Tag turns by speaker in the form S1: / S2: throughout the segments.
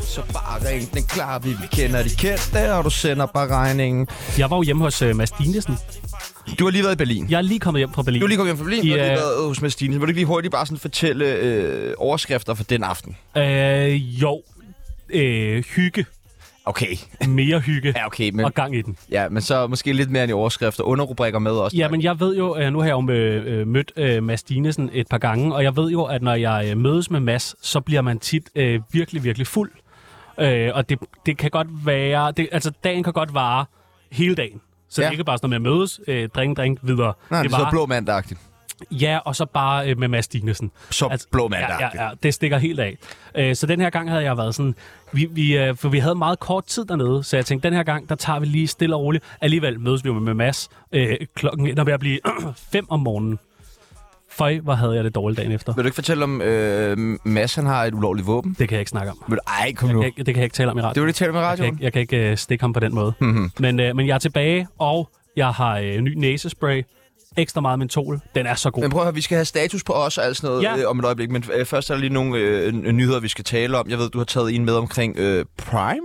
S1: Så bare ring den klar, vi, vi kender de kendte, og du sender bare regningen.
S2: Jeg var jo hjemme hos øh, Mads Dinesen.
S1: Du har lige været i Berlin.
S2: Jeg er lige kommet hjem fra Berlin.
S1: Du er lige kommet hjem fra Berlin, yeah. du har
S2: Ja.
S1: lige været hos Mads Stine. Vil du ikke lige hurtigt bare sådan fortælle øh, overskrifter for den aften?
S2: Øh, jo. Øh, hygge.
S1: Okay.
S2: Mere hygge.
S1: Ja, okay, men,
S2: Og gang i den.
S1: ja, men så måske lidt mere end i overskrifter. Underrubrikker med også.
S2: Ja, men jeg ved jo, øh, nu har jeg jo øh, øh, mødt øh, Mads Dinesen et par gange, og jeg ved jo, at når jeg øh, mødes med Mads, så bliver man tit øh, virkelig, virkelig fuld. Øh, og det, det kan godt være, det, altså dagen kan godt vare hele dagen. Så ja.
S1: Ja.
S2: det er ikke bare sådan noget med at mødes, øh, drink, drink, videre.
S1: Nej, det er så
S2: varer-
S1: blå mandagtigt.
S2: Ja, og så bare øh, med Mads Dinesen. Altså,
S1: Så blå
S2: ja,
S1: mandagtigt.
S2: ja, ja, det stikker helt af. Øh, så den her gang havde jeg været sådan... Vi, vi, øh, for vi havde meget kort tid dernede, så jeg tænkte, den her gang, der tager vi lige stille og roligt. Alligevel mødes vi jo med Mads. Øh, klokken ender ved at blive 5 om morgenen. Føj, hvor havde jeg det dårligt dagen efter.
S1: Vil du ikke fortælle om, øh, Mads han har et ulovligt våben?
S2: Det kan jeg ikke snakke om.
S1: Vil du, ej, kom nu.
S2: Jeg, det kan jeg ikke tale om i radioen.
S1: Det var det, tale med
S2: Jeg kan
S1: radioen.
S2: ikke, jeg kan ikke øh, stikke ham på den måde.
S1: Mhm.
S2: Mm-hmm. Men, øh, men jeg er tilbage, og jeg har øh, ny næsespray. Ekstra meget mentol. Den er så god.
S1: Men prøv at høre, vi skal have status på os og alt sådan noget ja.
S2: Ja.
S1: øh, om et øjeblik. Men øh, først er der lige nogle øh, n- nyheder, vi skal tale om. Jeg ved, du har taget en med omkring øh, Prime.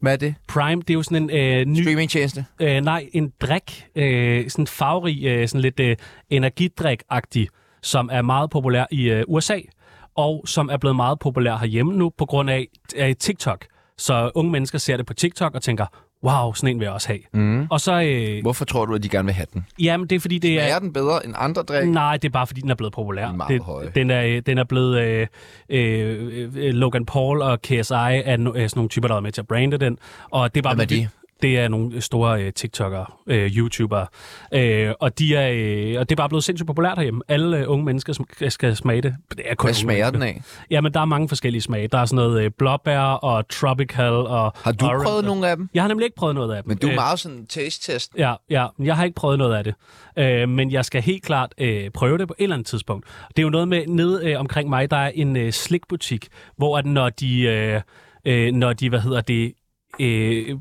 S1: Hvad er det?
S2: Prime, det er jo sådan en øh,
S1: Mm.
S2: ny
S1: Streamingtjeneste.
S2: Øh, nej, en drik, øh, sådan en farverig, øh, sådan lidt øh, energidrik-agtig, som er meget populær i øh, USA, og som er blevet meget populær herhjemme nu på grund af øh, TikTok. Så unge mennesker ser det på TikTok og tænker, wow, sådan en vil jeg også have. Mm. Og så, øh,
S1: Hvorfor tror du, at de gerne vil have den?
S2: jamen det er fordi, det er...
S1: Er den bedre end andre drik?
S2: Nej, det er bare fordi, den er blevet populær.
S1: Meget
S2: det,
S1: høj.
S2: Den, er, den er blevet... Øh, øh, øh, Logan Paul og KSI er no, øh, sådan nogle typer, der er med til at brande den. Og det er bare
S1: Hvem er de?
S2: Det er nogle store øh, TikTok'ere, øh, YouTubere. Øh, og, de er, øh, og det er bare blevet sindssygt populært herhjemme. Alle øh, unge mennesker sm- skal smage det. det er kun
S1: Hvad
S2: unge
S1: smager
S2: mennesker.
S1: den af?
S2: Ja, men der er mange forskellige smage. Der er sådan noget øh, blåbær og tropical og
S1: Har du
S2: orange.
S1: prøvet nogle af dem?
S2: Jeg har nemlig ikke prøvet noget af dem.
S1: Men du er
S2: Øh,
S1: meget sådan taste-test.
S2: Ja, ja, men jeg har ikke prøvet noget af det. Øh, men jeg skal helt klart øh, prøve det på et eller andet tidspunkt. Det er jo noget med, nede øh, omkring mig, der er en øh, slikbutik, hvor at når de, øh, øh, når de, hvad hedder det, øh,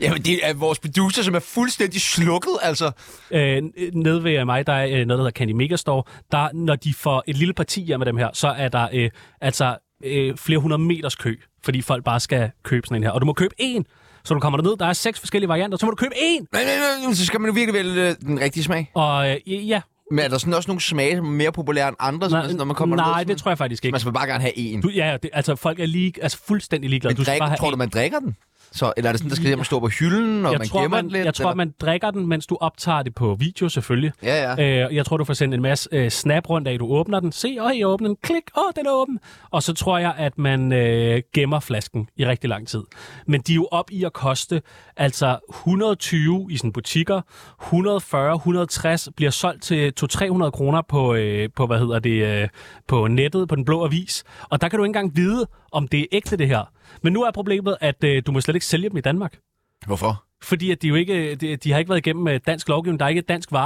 S1: Jamen, det er vores producer, som er fuldstændig slukket, altså.
S2: øh, nede ved mig, der er øh, noget, der hedder Candy Megastore, der, når de får et lille parti hjem med dem her, så er der øh, altså øh, flere hundrede meters kø, fordi folk bare skal købe sådan en her. Og du må købe én, så du kommer derned, der er seks forskellige varianter, så må du købe én!
S1: Men, men, men, så skal man jo virkelig vælge øh, den rigtige smag.
S2: Og øh, ja,
S1: Men er der sådan også nogle smage, som er mere populære end andre, nej, Altså, når man kommer
S2: nej,
S1: derned,
S2: det tror jeg faktisk ikke.
S1: Man skal bare gerne have en.
S2: Du, ja, ja, det, altså folk er lige, altså fuldstændig ligeglade.
S1: Men
S2: Du skal
S1: drik,
S2: bare have
S1: tror du,
S2: en- Mm,
S1: man drikker den? Så, eller er det sådan, der skal hjem og stå på hylden, og
S2: jeg
S1: man
S2: tror,
S1: gemmer
S2: man,
S1: den lidt?
S2: jeg tror,
S1: eller?
S2: man drikker den, mens du optager det på video, selvfølgelig.
S1: Ja, ja.
S2: Øh, jeg tror, du får sendt en masse øh, snap rundt af, du åbner den. Se, åh, jeg åbner den. Klik, åh, den er åben. Og så tror jeg, at man øh, gemmer flasken i rigtig lang tid. Men de er jo op i at koste altså 120 i sådan butikker, 140, 160 bliver solgt til 200-300 kroner på, øh, på, hvad hedder det, øh, på nettet, på den blå avis. Og der kan du ikke engang vide, om det er ægte det her. Men nu er problemet, at øh, du må slet ikke sælge dem i Danmark.
S1: Hvorfor?
S2: Fordi at de jo ikke, de, de har ikke været igennem øh, dansk lovgivning. Der er ikke et dansk øh,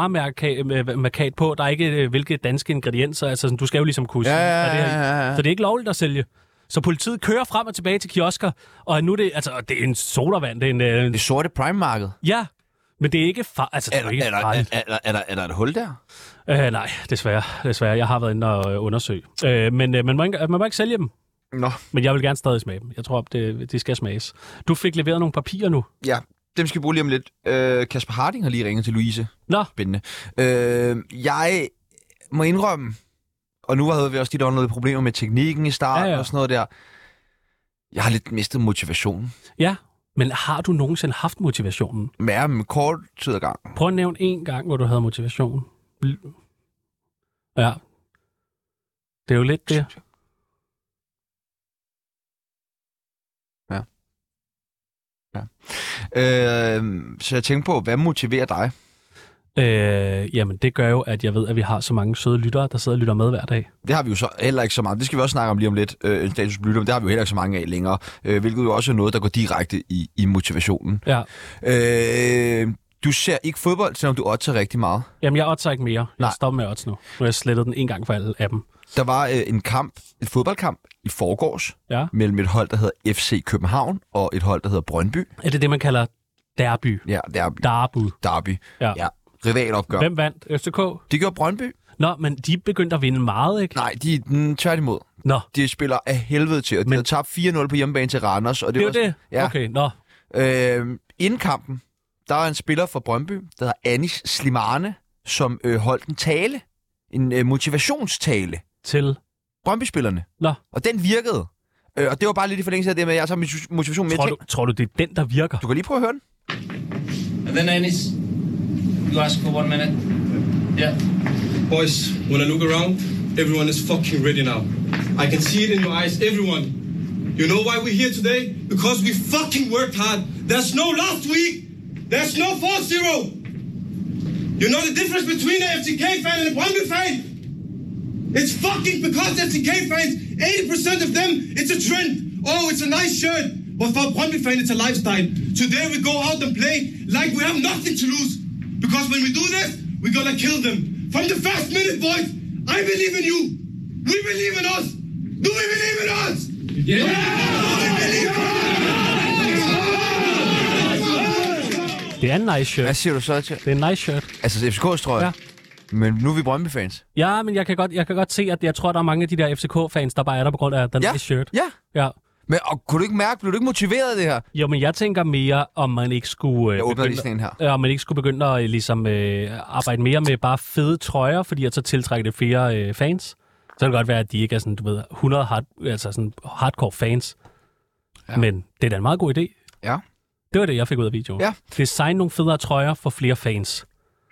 S2: varemarkat på. Der er ikke øh, hvilke danske ingredienser. Altså, sådan, du skal jo ligesom kunne sige,
S1: Ja, ja,
S2: "Er det her i?"
S1: ja, ja, ja.
S2: Så det er ikke lovligt at sælge. Så politiet kører frem og tilbage til kiosker, og nu er det, altså, det er en sodavand, det er en, øh,
S1: Det sorte prime-marked.
S2: ja, men det er ikke far, altså, det
S1: Er
S2: er,
S1: der,
S2: jo ikke
S1: er, der, er,
S2: farligt.
S1: er, er, der, er der et hul der?
S2: Øh, nej, desværre, desværre. Jeg har været inde og øh, undersøge. Øh, men øh, man, må ikke, man må ikke sælge dem,
S1: Nå,
S2: men jeg vil gerne stadig smage dem. Jeg tror, det, det skal smages. Du fik leveret nogle papirer nu.
S1: ja. Dem skal vi bruge lige om lidt. Øh, Kasper Harding har lige ringet til Louise.
S2: Nå,
S1: Spændende. Øh, jeg må indrømme, og nu havde vi også de der var noget problemer med teknikken i starten ja,
S2: Ja,
S1: ja.
S2: ja.
S1: og sådan noget der. Jeg har lidt mistet motivationen.
S2: ja, men har du nogensinde haft motivationen?
S1: Med, med kort tid ad gangen.
S2: Prøv at nævne en gang, hvor du havde motivation. L- Ja. Det er jo lidt det.
S1: Øh, så jeg tænkte på, hvad motiverer dig?
S2: Øh, jamen, det gør jo, at jeg ved, at vi har så mange søde lyttere, der sidder og lytter med hver dag.
S1: Det har vi jo så heller ikke så meget. Det skal vi også snakke om lige om lidt. Øh, en status på lytter, men det har vi jo heller ikke så mange af længere. Øh, hvilket jo også er noget, der går direkte i, i motivationen.
S2: Ja.
S1: Øh, du ser ikke fodbold, selvom du otter rigtig meget.
S2: Jamen, jeg otter ikke mere.
S1: Nej.
S2: Jeg stopper med odds nu. Nu har jeg slettet den en gang for alle af dem.
S1: Der var øh, en kamp, et fodboldkamp i forgårs
S2: Ja.
S1: mellem et hold, der hedder FC København og et hold, der hedder Brøndby.
S2: Er det det, man kalder derby?
S1: Ja, det er
S2: Darbu.
S1: derby.
S2: Ja.
S1: Ja. Rivalopgør.
S2: Hvem vandt? FCK?
S1: Det gjorde Brøndby?
S2: Nå, men de begyndte at vinde meget, ikke?
S1: Nej, de mm, tværtimod.
S2: Nå,
S1: De spiller af helvede til, og de
S2: Men-
S1: Men... havde tabt 4-0 på hjemmebane til Randers. Og det,
S2: det er
S1: var
S2: jo det.
S1: Ja.
S2: Okay, nå.
S1: Øh, inden kampen, der er en spiller fra Brøndby, der hedder Anis Slimane, som øh, holdt en tale. En øh, motivationstale.
S2: Til
S1: Brøndby-spillerne.
S2: Nå.
S1: Og den virkede. Øh, og det var bare lidt i forlængelse af det med, at jeg tager min motivation med.
S2: Tror
S1: du...
S2: du, tror du, det er den, der virker?
S1: du kan lige prøve at høre den.
S3: And then Anis, you ask for one minute. Yeah.
S4: Boys, when I look around, everyone is fucking ready now. I can see it in your eyes, everyone. You know why we're here today? Because we fucking worked hard. There's no last week. There's no 4-0. You know the difference between an FTK fan and a Brøndby fan? It's fucking because FTK fans, 80% of them, it's a trend. Oh, it's a nice shirt. But for a Brøndby fan, it's a lifestyle. Today we go out and play like we have nothing to lose. Because when we do this, we're gonna kill them. From the first minute, boys, I believe in you. We believe in us. Do we believe in us? Yeah! We believe in us.
S2: Det er en nice shirt.
S1: Hvad siger du så til?
S2: Det er en nice shirt.
S1: Altså FCK's trøje.
S2: Ja.
S1: Ja. Men nu er vi Brøndby-fans.
S2: Ja, men jeg kan godt, jeg kan godt se, at jeg tror, der er mange af de der FCK-fans, der bare er der på grund af den
S1: Ja.
S2: nice shirt.
S1: Ja.
S2: Ja.
S1: Men og, kunne du ikke mærke, blev du ikke motiveret af det her?
S2: Jo, men jeg tænker mere, om man ikke skulle... Øh,
S1: Jeg åbner lige
S2: begynde-
S1: sådan en her.
S2: øh, om man ikke skulle begynde at øh, ligesom, øh, arbejde mere med bare fede trøjer, fordi at så tiltrækker det flere øh, fans. Så kan det godt være, at de ikke er sådan, du ved, 100 hard, altså sådan hardcore fans. Ja.
S1: Ja.
S2: Men det er da en meget god idé.
S1: Ja.
S2: Det var det, jeg fik ud af videoen.
S1: Ja.
S2: Design nogle federe trøjer for flere fans.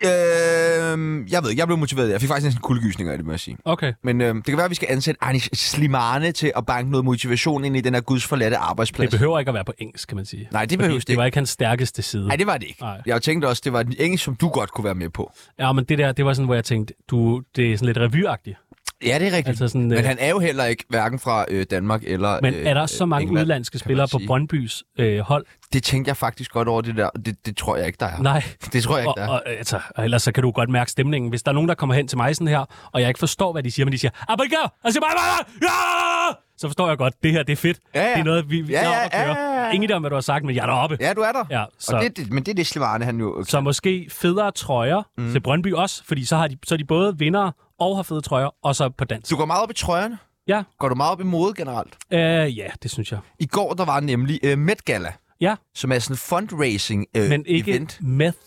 S1: Øhm, jeg ved ikke, jeg blev motiveret. Jeg fik faktisk næsten kuldegysninger af det, må jeg sige.
S2: Okay.
S1: Men øhm, det kan være, at vi skal ansætte Anis Slimane til at banke noget motivation ind i den her gudsforladte
S2: Det
S1: arbejdsplads.
S2: behøver ikke at være på engelsk, kan man sige.
S1: Nej, det
S2: Fordi
S1: behøves det
S2: Det var
S1: ikke.
S2: ikke hans stærkeste side.
S1: Nej, det var det ikke.
S2: Nej.
S1: Jeg tænkte også, det var den engelsk, som du godt kunne være med på.
S2: Ja, men det der, det var sådan, hvor jeg tænkte, du, det er sådan lidt revyagtigt.
S1: Ja, det er rigtigt.
S2: Altså
S1: Altså
S2: sådan,
S1: sådan, men
S2: øh,
S1: han er jo heller ikke hverken fra øh, Danmark eller
S2: Men
S1: øh,
S2: er der så mange
S1: England,
S2: udenlandske
S1: kan man
S2: spillere på
S1: sige.
S2: Brøndbys øh, hold?
S1: Det tænkte jeg faktisk godt over det der. og Det, det tror jeg ikke, der er.
S2: Nej.
S1: Det tror jeg
S2: Og,
S1: ikke, der er.
S2: og, altså, og ellers så kan du godt mærke stemningen. Hvis der er nogen, der kommer hen til mig sådan her, og jeg ikke forstår, hvad de siger, men de siger, Abelgaard! Og så siger, "Abelgaard! ja! Så forstår jeg godt, det her, det er fedt.
S1: Ja, ja.
S2: Det er noget, vi, vi
S1: Ja,
S2: er
S1: ja,
S2: oppe at køre.
S1: ja, ja, ja.
S2: Ingen idé om, hvad du har sagt, men jeg er deroppe.
S1: Ja, du er der.
S2: Ja, så-
S1: Og det, det, men det er det, Slivane han jo...
S2: Så måske federe trøjer mm. til Brøndby også, fordi så har de, så er de både vinder og har fede trøjer, og så på dansk.
S1: Du går meget op i trøjerne.
S2: Ja,
S1: Går du meget op i mode generelt?
S2: øh, ja, det synes jeg.
S1: I går, der var nemlig øh, Met Gala,
S2: Ja,
S1: som er sådan en fundraising-event. Øh,
S2: men ikke
S1: event.
S2: meth.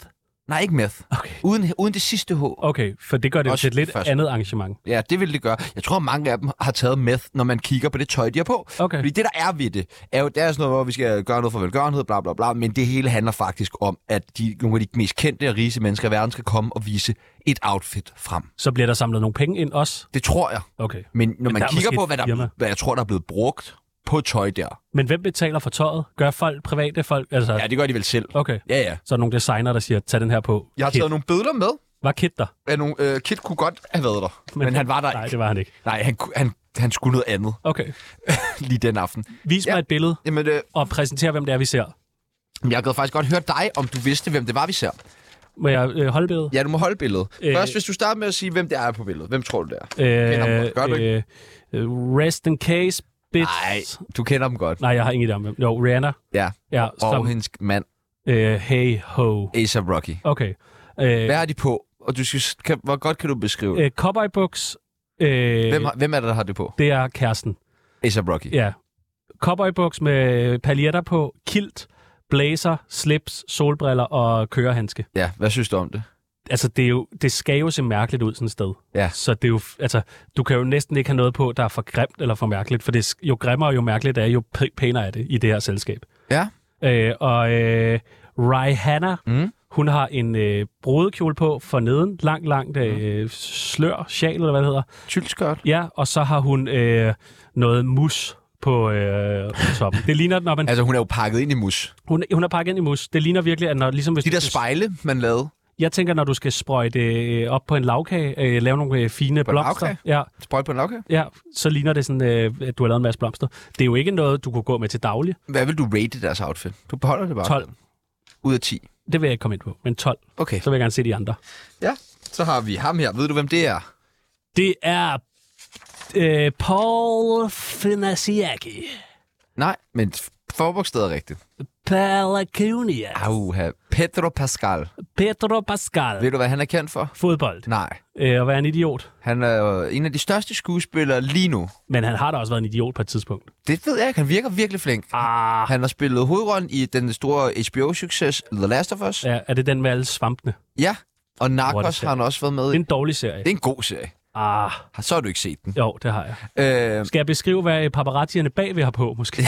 S1: Nej, ikke meth.
S2: Okay.
S1: Uden, uden det sidste H.
S2: Okay, for det gør det jo
S1: Også
S2: til et lidt
S1: først.
S2: andet arrangement.
S1: Ja, det vil det gøre. Jeg tror, mange af dem har taget meth, når man kigger på det tøj, de har på.
S2: Okay.
S1: Fordi det, der er ved det, er jo, det er sådan noget, hvor vi skal gøre noget for velgørenhed, bla bla bla, men det hele handler faktisk om, at de, nogle af de mest kendte og rigeste mennesker i verden skal komme og vise et outfit frem.
S2: Så bliver der samlet nogle penge ind også.
S1: Det tror jeg.
S2: Okay.
S1: Men når
S2: Men
S1: men
S2: der
S1: man
S2: er
S1: kigger
S2: måske
S1: på,
S2: et
S1: hvad, der,
S2: firma.
S1: hvad jeg tror, der er blevet brugt på tøj der.
S2: Men hvem betaler for tøjet? Gør folk, private folk? Altså,
S1: Ja, det gør de vel selv.
S2: okay.
S1: Ja, ja.
S2: Så er der nogle designer, der siger, tag den her på.
S1: Jeg har
S2: Kit.
S1: taget nogle billeder med.
S2: Var Kit der?
S1: Af nogle, øh, Kit kunne godt have været der, men, men han var der
S2: Nej,
S1: ikke.
S2: det var han ikke.
S1: Nej, han, ku- han, han skulle noget andet
S2: Okay.
S1: lige den aften.
S2: Vis ja.
S1: Ja.
S2: mig et billede
S1: Jamen, øh,
S2: og præsenter, hvem det er, vi ser.
S1: jeg gad faktisk godt høre dig, om du vidste, hvem det var, vi ser.
S2: Må jeg øh, holde billedet?
S1: Ja, du må holde billedet.
S2: Øh.
S1: Øh... Først, hvis du starter med at sige, hvem det er på billedet. Hvem tror du, det er? kender ham godt. Gør du
S2: øh, øh, rest in case, bitch.
S1: Nej, du kender dem godt.
S2: Nej, jeg har ingen idé om hvem. Jo, Rihanna.
S1: Ja,
S2: Ja,
S1: og
S2: som,
S1: hendes mand,
S2: øh, hey ho.
S1: Asa Rocky.
S2: Okay. Øh,
S1: Hvad har de på? Og du skal, kan, hvor godt kan du beskrive det?
S2: øh, cowboybuks. Øh,
S1: Hvem, har, hvem er det, der har det på?
S2: Det er kæresten.
S1: Asa Rocky.
S2: Ja. Cowboybuks med paljetter på, kilt, blazer, slips, solbriller og kørehandske.
S1: Ja, hvad synes du om det?
S2: Altså, det, er jo, det skal jo se mærkeligt ud sådan et sted.
S1: Ja.
S2: Så det er jo, altså, du kan jo næsten ikke have noget på, der er for grimt eller for mærkeligt, for det, er sk- jo grimmere og jo mærkeligt det er, jo p- pænere er det i det her selskab.
S1: Ja.
S2: Øh, og øh, Rihanna,
S1: Mm.
S2: hun har en øh, brudekjole på for neden, langt, langt
S1: Mm.
S2: øh, slør, sjal eller hvad det hedder.
S1: Tylskørt.
S2: Ja, og så har hun øh, noget mus på, øh, på toppen. Det ligner, når man,
S1: Altså, hun er jo pakket ind i mus.
S2: hun, hun er pakket ind i mus. Det ligner virkelig, at når, ligesom hvis
S1: De
S2: du
S1: der
S2: skal-
S1: spejle, man lavede.
S2: jeg tænker, når du skal sprøjte øh, op på en lavkage, øh, lave nogle øh, fine
S1: en
S2: blomster,
S1: lagkage?
S2: ja,
S1: Sprøjt på en okay.
S2: ja, så ligner det sådan, øh, at du har lavet en masse blomster. Det er jo ikke noget, du kunne gå med til daglig.
S1: Hvad vil du rate deres outfit? Du beholder det bare.
S2: 12.
S1: Ud af 10.
S2: Det vil jeg ikke komme ind på, men 12.
S1: Okay.
S2: Så vil jeg gerne se de andre.
S1: Ja, så har vi ham her. Ved du, hvem det er?
S2: Det er øh, Paul Finasiaki.
S1: Nej, men forbogstedet er rigtigt.
S2: Palacunias.
S1: Auha. Pedro Pascal.
S2: Pedro Pascal.
S1: Ved du, hvad han er kendt for?
S2: Fodbold.
S1: Nej.
S2: Øh, at være en idiot.
S1: Han er jo en af de største skuespillere lige nu.
S2: Men han har da også været en idiot på et tidspunkt.
S1: Det ved jeg ikke. Han virker virkelig flink.
S2: Ah.
S1: Han har spillet hovedrollen i den store HBO-succes The Last of Us.
S2: Ja, er det den med alle svampene?
S1: Ja. Og Narcos
S2: fedt.
S1: har han også været med
S2: Det
S1: i.
S2: er en dårlig serie.
S1: Det er en god serie.
S2: Ah,
S1: Har- Så har du ikke set den.
S2: jo, det har jeg.
S1: Øh,
S2: Skal jeg beskrive, hvad paparazzierne bagved har på, måske?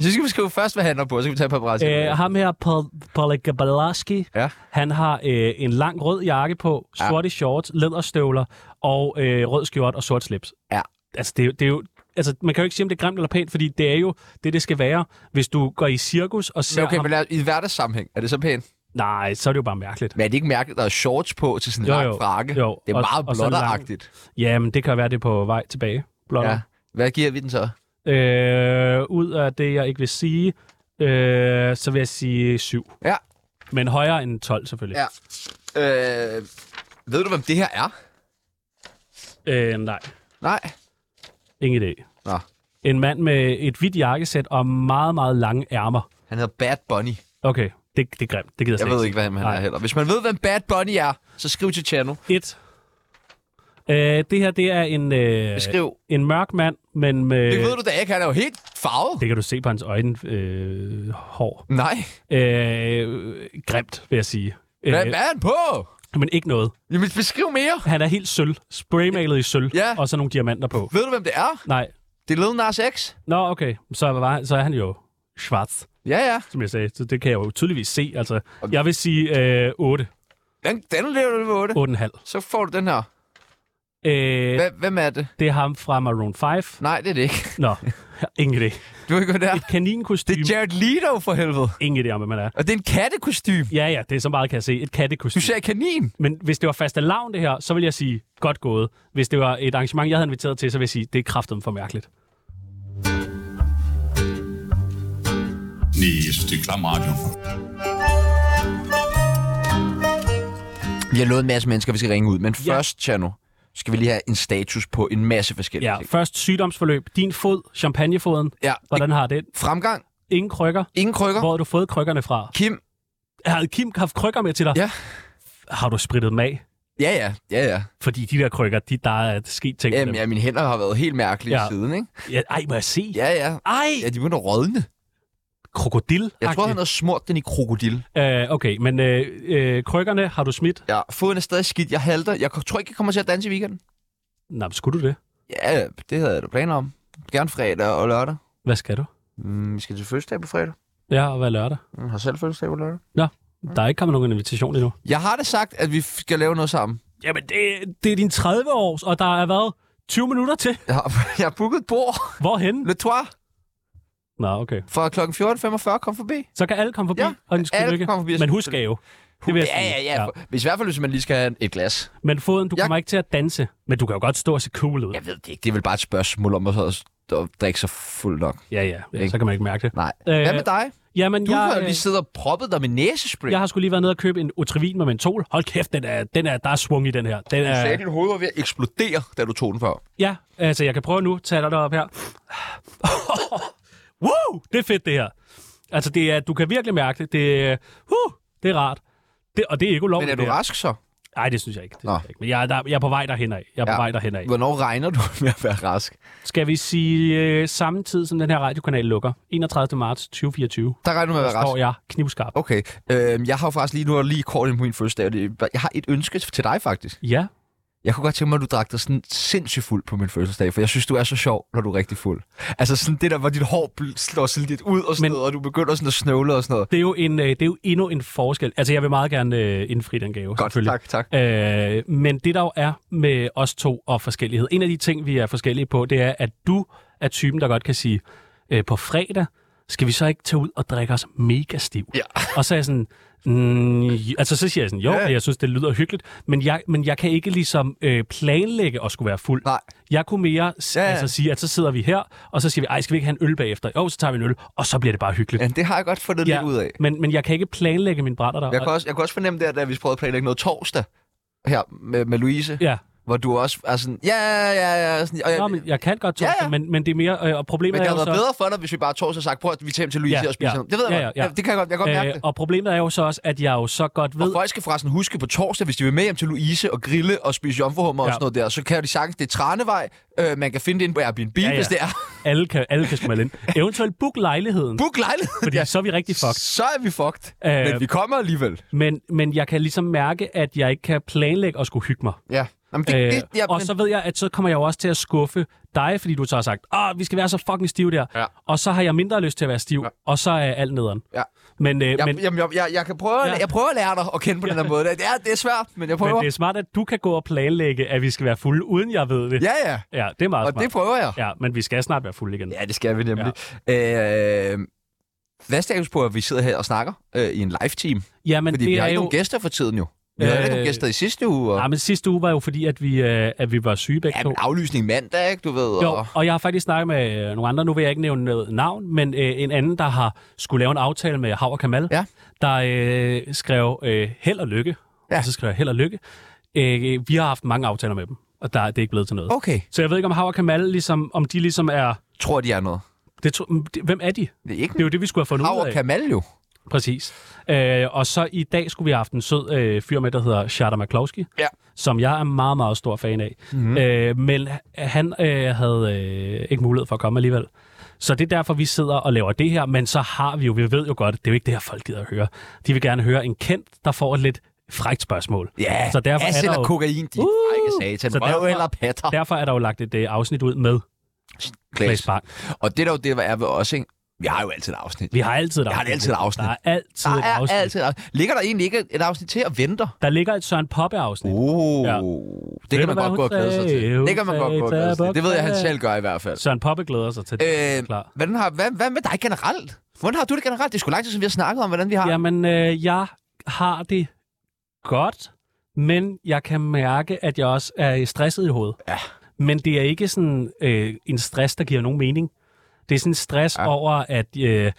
S1: så skal vi skrive først, hvad han har på, så kan vi tage paparazzi.
S2: Æ, ham her, Paul, Paul Gabalowski,
S1: Ja.
S2: han har øh, en lang rød jakke på,
S1: Ja.
S2: sorte shorts, læderstøvler og øh, rød skjort og sort slips.
S1: Ja.
S2: Altså, det, er jo- det er jo... Altså, man kan jo ikke sige, om det er grimt eller pænt, fordi det er jo det, det skal være, hvis du går i cirkus og ser
S1: Men okay,
S2: ham.
S1: men lad, i hverdagssammenhæng, er det så pænt?
S2: Nej, så er det jo bare mærkeligt.
S1: Men er det ikke mærkeligt, at der er shorts på til sådan en
S2: Jo,
S1: lang
S2: jo.
S1: frakke?
S2: Jo,
S1: Det er
S2: og-
S1: meget
S2: og så lang-
S1: blotteragtigt.
S2: Jamen, det kan være, det er på vej tilbage. Blot
S1: Ja. Hvad giver vi den så?
S2: Øh, ud af det, jeg ikke vil sige, øh, så vil jeg sige 7.
S1: Ja.
S2: Men højere end 12, selvfølgelig.
S1: ja. Øh, ved du, hvem det her er?
S2: Øh, nej,
S1: Nej.
S2: ingen idé.
S1: Nå,
S2: En mand med et hvidt jakkesæt og meget, meget lange ærmer.
S1: han hedder Bad Bunny.
S2: Okay, det, det er grimt. Det gider
S1: Jeg
S2: slet
S1: ved ikke, hvad han
S2: Nej.
S1: er heller. Hvis man ved, hvem Bad Bunny er, så skriv til Channel.
S2: Et. Øh, det her, det er en, øh,
S1: Beskriv.
S2: en mørk mand, men med...
S1: Det ved du da ikke, han er jo helt farvet.
S2: det kan du se på hans øjne, øh, hår.
S1: Nej.
S2: Øh, grimt, vil jeg sige. Øh,
S1: Hvad, hvad er han på?
S2: men ikke noget.
S1: Jamen, beskriv mere.
S2: Han er helt sølv. Spraymalet i sølv.
S1: Ja.
S2: Og så nogle diamanter på.
S1: Ved du, hvem det er?
S2: Nej.
S1: Det er Lil Nas X.
S2: Nå, okay. Så, var, så er han jo schwarz,
S1: Ja, ja.
S2: som jeg sagde. Så det kan jeg jo tydeligvis se. Altså, jeg vil sige øh, 8.
S1: Den, den lever du med 8.
S2: 8,5.
S1: Så får du den her.
S2: Øh,
S1: Hvem, hvem er det?
S2: det er ham fra Maroon 5.
S1: Nej, det er det ikke.
S2: Nå, ingen idé.
S1: Du kan gå der.
S2: Et
S1: Det
S2: kaninkostyme.
S1: er Jared Leto for helvede.
S2: Ingen idé om, hvad man er.
S1: Og det er en kattekostym.
S2: Ja, ja, det er så meget, kan jeg se. Et
S1: Du
S2: kattekostyme.
S1: sagde kanin.
S2: Men hvis det var faste lavn, det her, så vil jeg sige, godt gået. Hvis det var et arrangement, jeg havde inviteret til, så vil jeg sige, det er kraften for mærkeligt.
S5: Nej, jeg synes, det er klam radio.
S1: Vi har lovet en masse mennesker, vi skal ringe ud. Men
S2: Ja.
S1: først, Chano, skal vi lige have en status på en masse forskellige
S2: Ja,
S1: ting.
S2: først sygdomsforløb. Din fod, champagnefoden.
S1: Ja,
S2: Hvordan har den?
S1: Fremgang.
S2: Ingen krykker.
S1: Ingen krykker.
S2: Hvor har du fået krykkerne fra?
S1: Kim.
S2: Har Kim haft krykker med til dig?
S1: Ja.
S2: Har du sprittet dem af?
S1: Ja, ja. Ja, ja.
S2: Fordi de der krykker, de, der er sket ting
S1: Jamen,
S2: med
S1: ja, mine hænder har været helt mærkelige
S2: Ja.
S1: ja. siden, ikke?
S2: dem. Ja, ej, må jeg se?
S1: Ja, ja.
S2: Ej,
S1: Ja, de begynder at rådne.
S2: krokodil
S1: Jeg tror, han har smurt den i krokodil.
S2: øh, Okay, men øh, øh, krykkerne har du smidt?
S1: Ja, foden er stadig skidt. Jeg halter. Jeg tror ikke, jeg kommer til at danse i weekenden.
S2: Nej, men skulle du det?
S1: Ja, det havde jeg da planer om. Gerne fredag og lørdag.
S2: Hvad skal du?
S1: Mm, vi skal til fødselsdag på fredag.
S2: Ja, og hvad er lørdag?
S1: Mm, har selv fødselsdag på lørdag. Mm.
S2: Der er ikke kommet nogen invitation endnu.
S1: Jeg har da sagt, at vi skal lave noget sammen.
S2: Jamen, det, det er din 30 års, og der er været 20 minutter til.
S1: Jeg har, jeg har booket et bord.
S2: Hvorhen?
S1: Le Trois.
S2: Nå, okay.
S1: Fra kl. 14.45. Kom forbi.
S2: Så kan alle komme forbi
S1: Ja,
S2: og en
S1: alle
S2: lykke.
S1: kan komme forbi og
S2: Men
S1: sige
S2: husk
S1: tillykke.
S2: jo. Det
S1: Ja,
S2: vil jeg
S1: ja,
S2: sige.
S1: ja. Hvis i hvert fald, hvis man lige skal have et glas.
S2: Men foden, du
S1: Jeg-
S2: kommer ikke til at danse. Men du kan jo godt stå og se cool ud.
S1: Jeg ved det ikke. Det er vel bare et spørgsmål om at, så- at drikke sig fuld nok.
S2: Ja, ja. ja
S1: Ikke?
S2: så kan man ikke mærke det.
S1: Nej.
S2: Øh,
S1: Hvad med dig?
S2: Jamen,
S1: Du
S2: jeg,
S1: har
S2: øh,
S1: lige siddet og proppet dig med næsespray.
S2: jeg har skulle lige været nede og købe en otrivin med mentol. Hold kæft, den er, den er, der er svung i den her. Den
S1: Du sagde,
S2: er,
S1: at dit hoved var ved at eksplodere, da du tog den før.
S2: ja, altså jeg kan prøve nu. Tag dig derop her. wow, det er fedt det her. Altså det er, du kan virkelig mærke det. Det, er- uh, det er rart. Det, og det er ikke
S1: Men
S2: ulovligt.
S1: er du rask så?
S2: Nej, det synes jeg ikke. Det
S1: Nå.
S2: synes jeg ikke. Men jeg, er der, jeg er på vej derhen af. Jeg er ja.
S1: Ja.
S2: på vej derhen af.
S1: Hvornår regner du med at være rask?
S2: Skal vi sige øh, samme tid, som den her radiokanal lukker? 31. marts 2024.
S1: Der regner du med at være rask.
S2: Står jeg knivskarp.
S1: Okay. Øh, jeg har jo faktisk lige nu lige kort ind på min fødselsdag. og det- Jeg har et ønske til dig faktisk.
S2: Ja,
S1: Jeg kunne godt tænke mig, at du drak dig sådan sindssygt fuld på min fødselsdag, for jeg synes, du er så sjov, når du er rigtig fuld. Altså sådan det der, hvor dit hår bl- slår sådan lidt ud og sådan
S2: Men-
S1: Men... noget, og du begynder sådan at snøvle og sådan noget.
S2: det er, jo en, øh, det er jo endnu en forskel. Altså, jeg vil meget gerne øh, indfri den gave,
S1: Godt,
S2: selvfølgelig.
S1: tak, tak.
S2: Øh, men det, der jo er med os to og forskellighed, en af de ting, vi er forskellige på, det er, at du er typen, der godt kan sige, øh, på fredag skal vi så ikke tage ud og drikke os mega stiv?
S1: Ja.
S2: Og så er jeg sådan, mm, j- altså så siger jeg sådan, jo,
S1: Ja.
S2: jeg synes, det lyder hyggeligt, men jeg, men jeg kan ikke ligesom øh, planlægge at skulle være fuld.
S1: Nej.
S2: Jeg kunne mere ja.
S1: Ja, ja.
S2: altså, sige, at så sidder vi her, og så siger vi, ej, skal vi ikke have en øl bagefter? Jo, så tager vi en øl, og så bliver det bare hyggeligt.
S1: Men det har jeg godt fundet lidt ud af.
S2: Men, men jeg kan ikke planlægge min brænder der.
S1: Jeg kunne, også, jeg kunne også fornemme der, da vi prøvede at planlægge noget torsdag her med, med Louise,
S2: Ja,
S1: hvor du også er sådan, ja, ja, ja, sådan, og jeg,
S2: Nå, men jeg kan godt
S1: Ja,
S2: torsdag,
S1: ja.
S2: men, men det er mere... Øh, og problemet
S1: men det
S2: er
S1: havde
S2: jo så...
S1: været bedre for dig, hvis vi bare tog os og sagt, prøv at vi tager hjem til Louise
S2: Ja,
S1: og spiser
S2: ja.
S1: noget. Det ved jeg
S2: Ja,
S1: godt.
S2: ja, ja.
S1: det kan jeg godt, jeg kan godt mærke
S2: Øh,
S1: det.
S2: og problemet er jo så også, at jeg jo så godt ved...
S1: Og folk skal forresten huske på torsdag, hvis de vil med hjem til Louise og grille og spise jomfruhummer
S2: Ja.
S1: og sådan noget der, så kan de sagtens, det er Tranevej, øh, man kan finde det inde på Airbnb, ja,
S2: ja.
S1: ja. hvis det er.
S2: Alle kan, alle kan smelle ind. Eventuelt book lejligheden,
S1: Book lejligheden,
S2: fordi så er vi rigtig fucked.
S1: Så er vi fucked,
S2: Øh,
S1: øh, men vi kommer alligevel.
S2: Men, men jeg kan ligesom mærke, at jeg ikke kan planlægge at skulle hygge mig.
S1: Ja. Jamen, det,
S2: Øh,
S1: det, ja,
S2: og så ved jeg, at så kommer jeg jo også til at skuffe dig, fordi du så har sagt, at vi skal være så fucking stive der.
S1: Ja.
S2: Og så har jeg mindre lyst til at være stiv, og så er alt nederen.
S1: Ja.
S2: Men, øh,
S1: jeg,
S2: men,
S1: jamen, jeg, jeg, jeg, kan prøve,
S2: Ja.
S1: ja. jeg prøver at lære dig at kende på den her måde. Det er, det er svært, men jeg prøver.
S2: men det er smart, at du kan gå og planlægge, at vi skal være fulde, uden jeg ved det.
S1: Ja, ja,
S2: ja det er meget
S1: og
S2: smart.
S1: det prøver jeg.
S2: Ja, men vi skal snart være fulde igen.
S1: Ja, det skal vi nemlig. Ja. Øh, hvad er status på, at vi sidder her og snakker øh, i en live-team?
S2: Ja, men
S1: Fordi
S2: det
S1: vi har
S2: er
S1: ikke
S2: jo...
S1: nogen gæster for tiden jo. Vi havde
S2: Øh,
S1: ikke nogen gæster i sidste uge. Og...
S2: Ja, men sidste uge var jo fordi, at vi, øh, at vi var syge begge
S1: Ja,
S2: to.
S1: men aflysning mandag, ikke? Du ved.
S2: Jo,
S1: Og...
S2: og jeg har faktisk snakket med øh, nogle andre, nu vil jeg ikke nævne noget navn, men øh, en anden, der har skulle lave en aftale med Hav og Kamal,
S1: Ja.
S2: der øh, skrev øh, held og lykke,
S1: Ja.
S2: og så skrev jeg held og lykke. Øh, vi har haft mange aftaler med dem, og der, det er ikke blevet til noget.
S1: Okay.
S2: Så jeg ved ikke, om Hav og Kamal, ligesom, om de ligesom er...
S1: Tror de er noget.
S2: Det, to- mm, det, hvem er de?
S1: Det er ikke
S2: Det er jo det, vi skulle have fundet
S1: Hav
S2: ud
S1: og
S2: af.
S1: Kamal jo.
S2: Præcis. Øh, og så i dag skulle vi have haft en sød øh, fyr med, der hedder Sharda McCloskey,
S1: Ja.
S2: som jeg er meget, meget stor fan af. Mm-hmm. Øh, men h- han øh, havde øh, ikke mulighed for at komme alligevel. Så det er derfor, vi sidder og laver det her. Men så har vi jo, vi ved jo godt, det er jo ikke det her, folk gider at høre. De vil gerne høre en kendt, der får et lidt frækt spørgsmål.
S1: Ja,
S2: så derfor er
S1: acid
S2: der
S1: og
S2: jo,
S1: kokain, de
S2: Uh!
S1: uh, frække
S2: Så
S1: satan.
S2: derfor-
S1: Røv eller patter.
S2: derfor er der jo lagt et øh, afsnit ud med Claes Bang.
S1: Og det der jo det, der er ved os, ikke? Vi har jo altid et afsnit.
S2: Vi har altid et
S1: Jeg har
S2: afsnit.
S1: altid et afsnit.
S2: Der er altid
S1: Der
S2: et
S1: er
S2: afsnit.
S1: altid et afsnit. Ligger der egentlig ikke et afsnit til og venter?
S2: Der ligger et Søren Poppe-afsnit.
S1: Oh,
S2: Ja.
S1: ja. Det
S2: Ved
S1: kan man
S2: du, hvad
S1: godt gå
S2: hun
S1: og glæde sig til.
S2: sagde? Hun
S1: Det kan man godt
S2: sagde,
S1: gå og glæde sig
S2: "Tag
S1: til. Det ved jeg, han
S2: bukserne."
S1: selv gør i hvert fald.
S2: Søren Poppe glæder sig til det.
S1: Øh,
S2: klar.
S1: hvordan har, hvad, hvad med dig generelt? Hvordan har du det generelt? Det er sgu lang tid, siden vi har snakket om, hvordan vi har det.
S2: Jamen, øh, jeg har det godt, men jeg kan mærke, at jeg også er stresset i hovedet.
S1: Ja.
S2: Men det er ikke sådan øh, en stress, der giver nogen mening. Det er sådan en stress ja.
S1: Ja.
S2: over, at... Øh,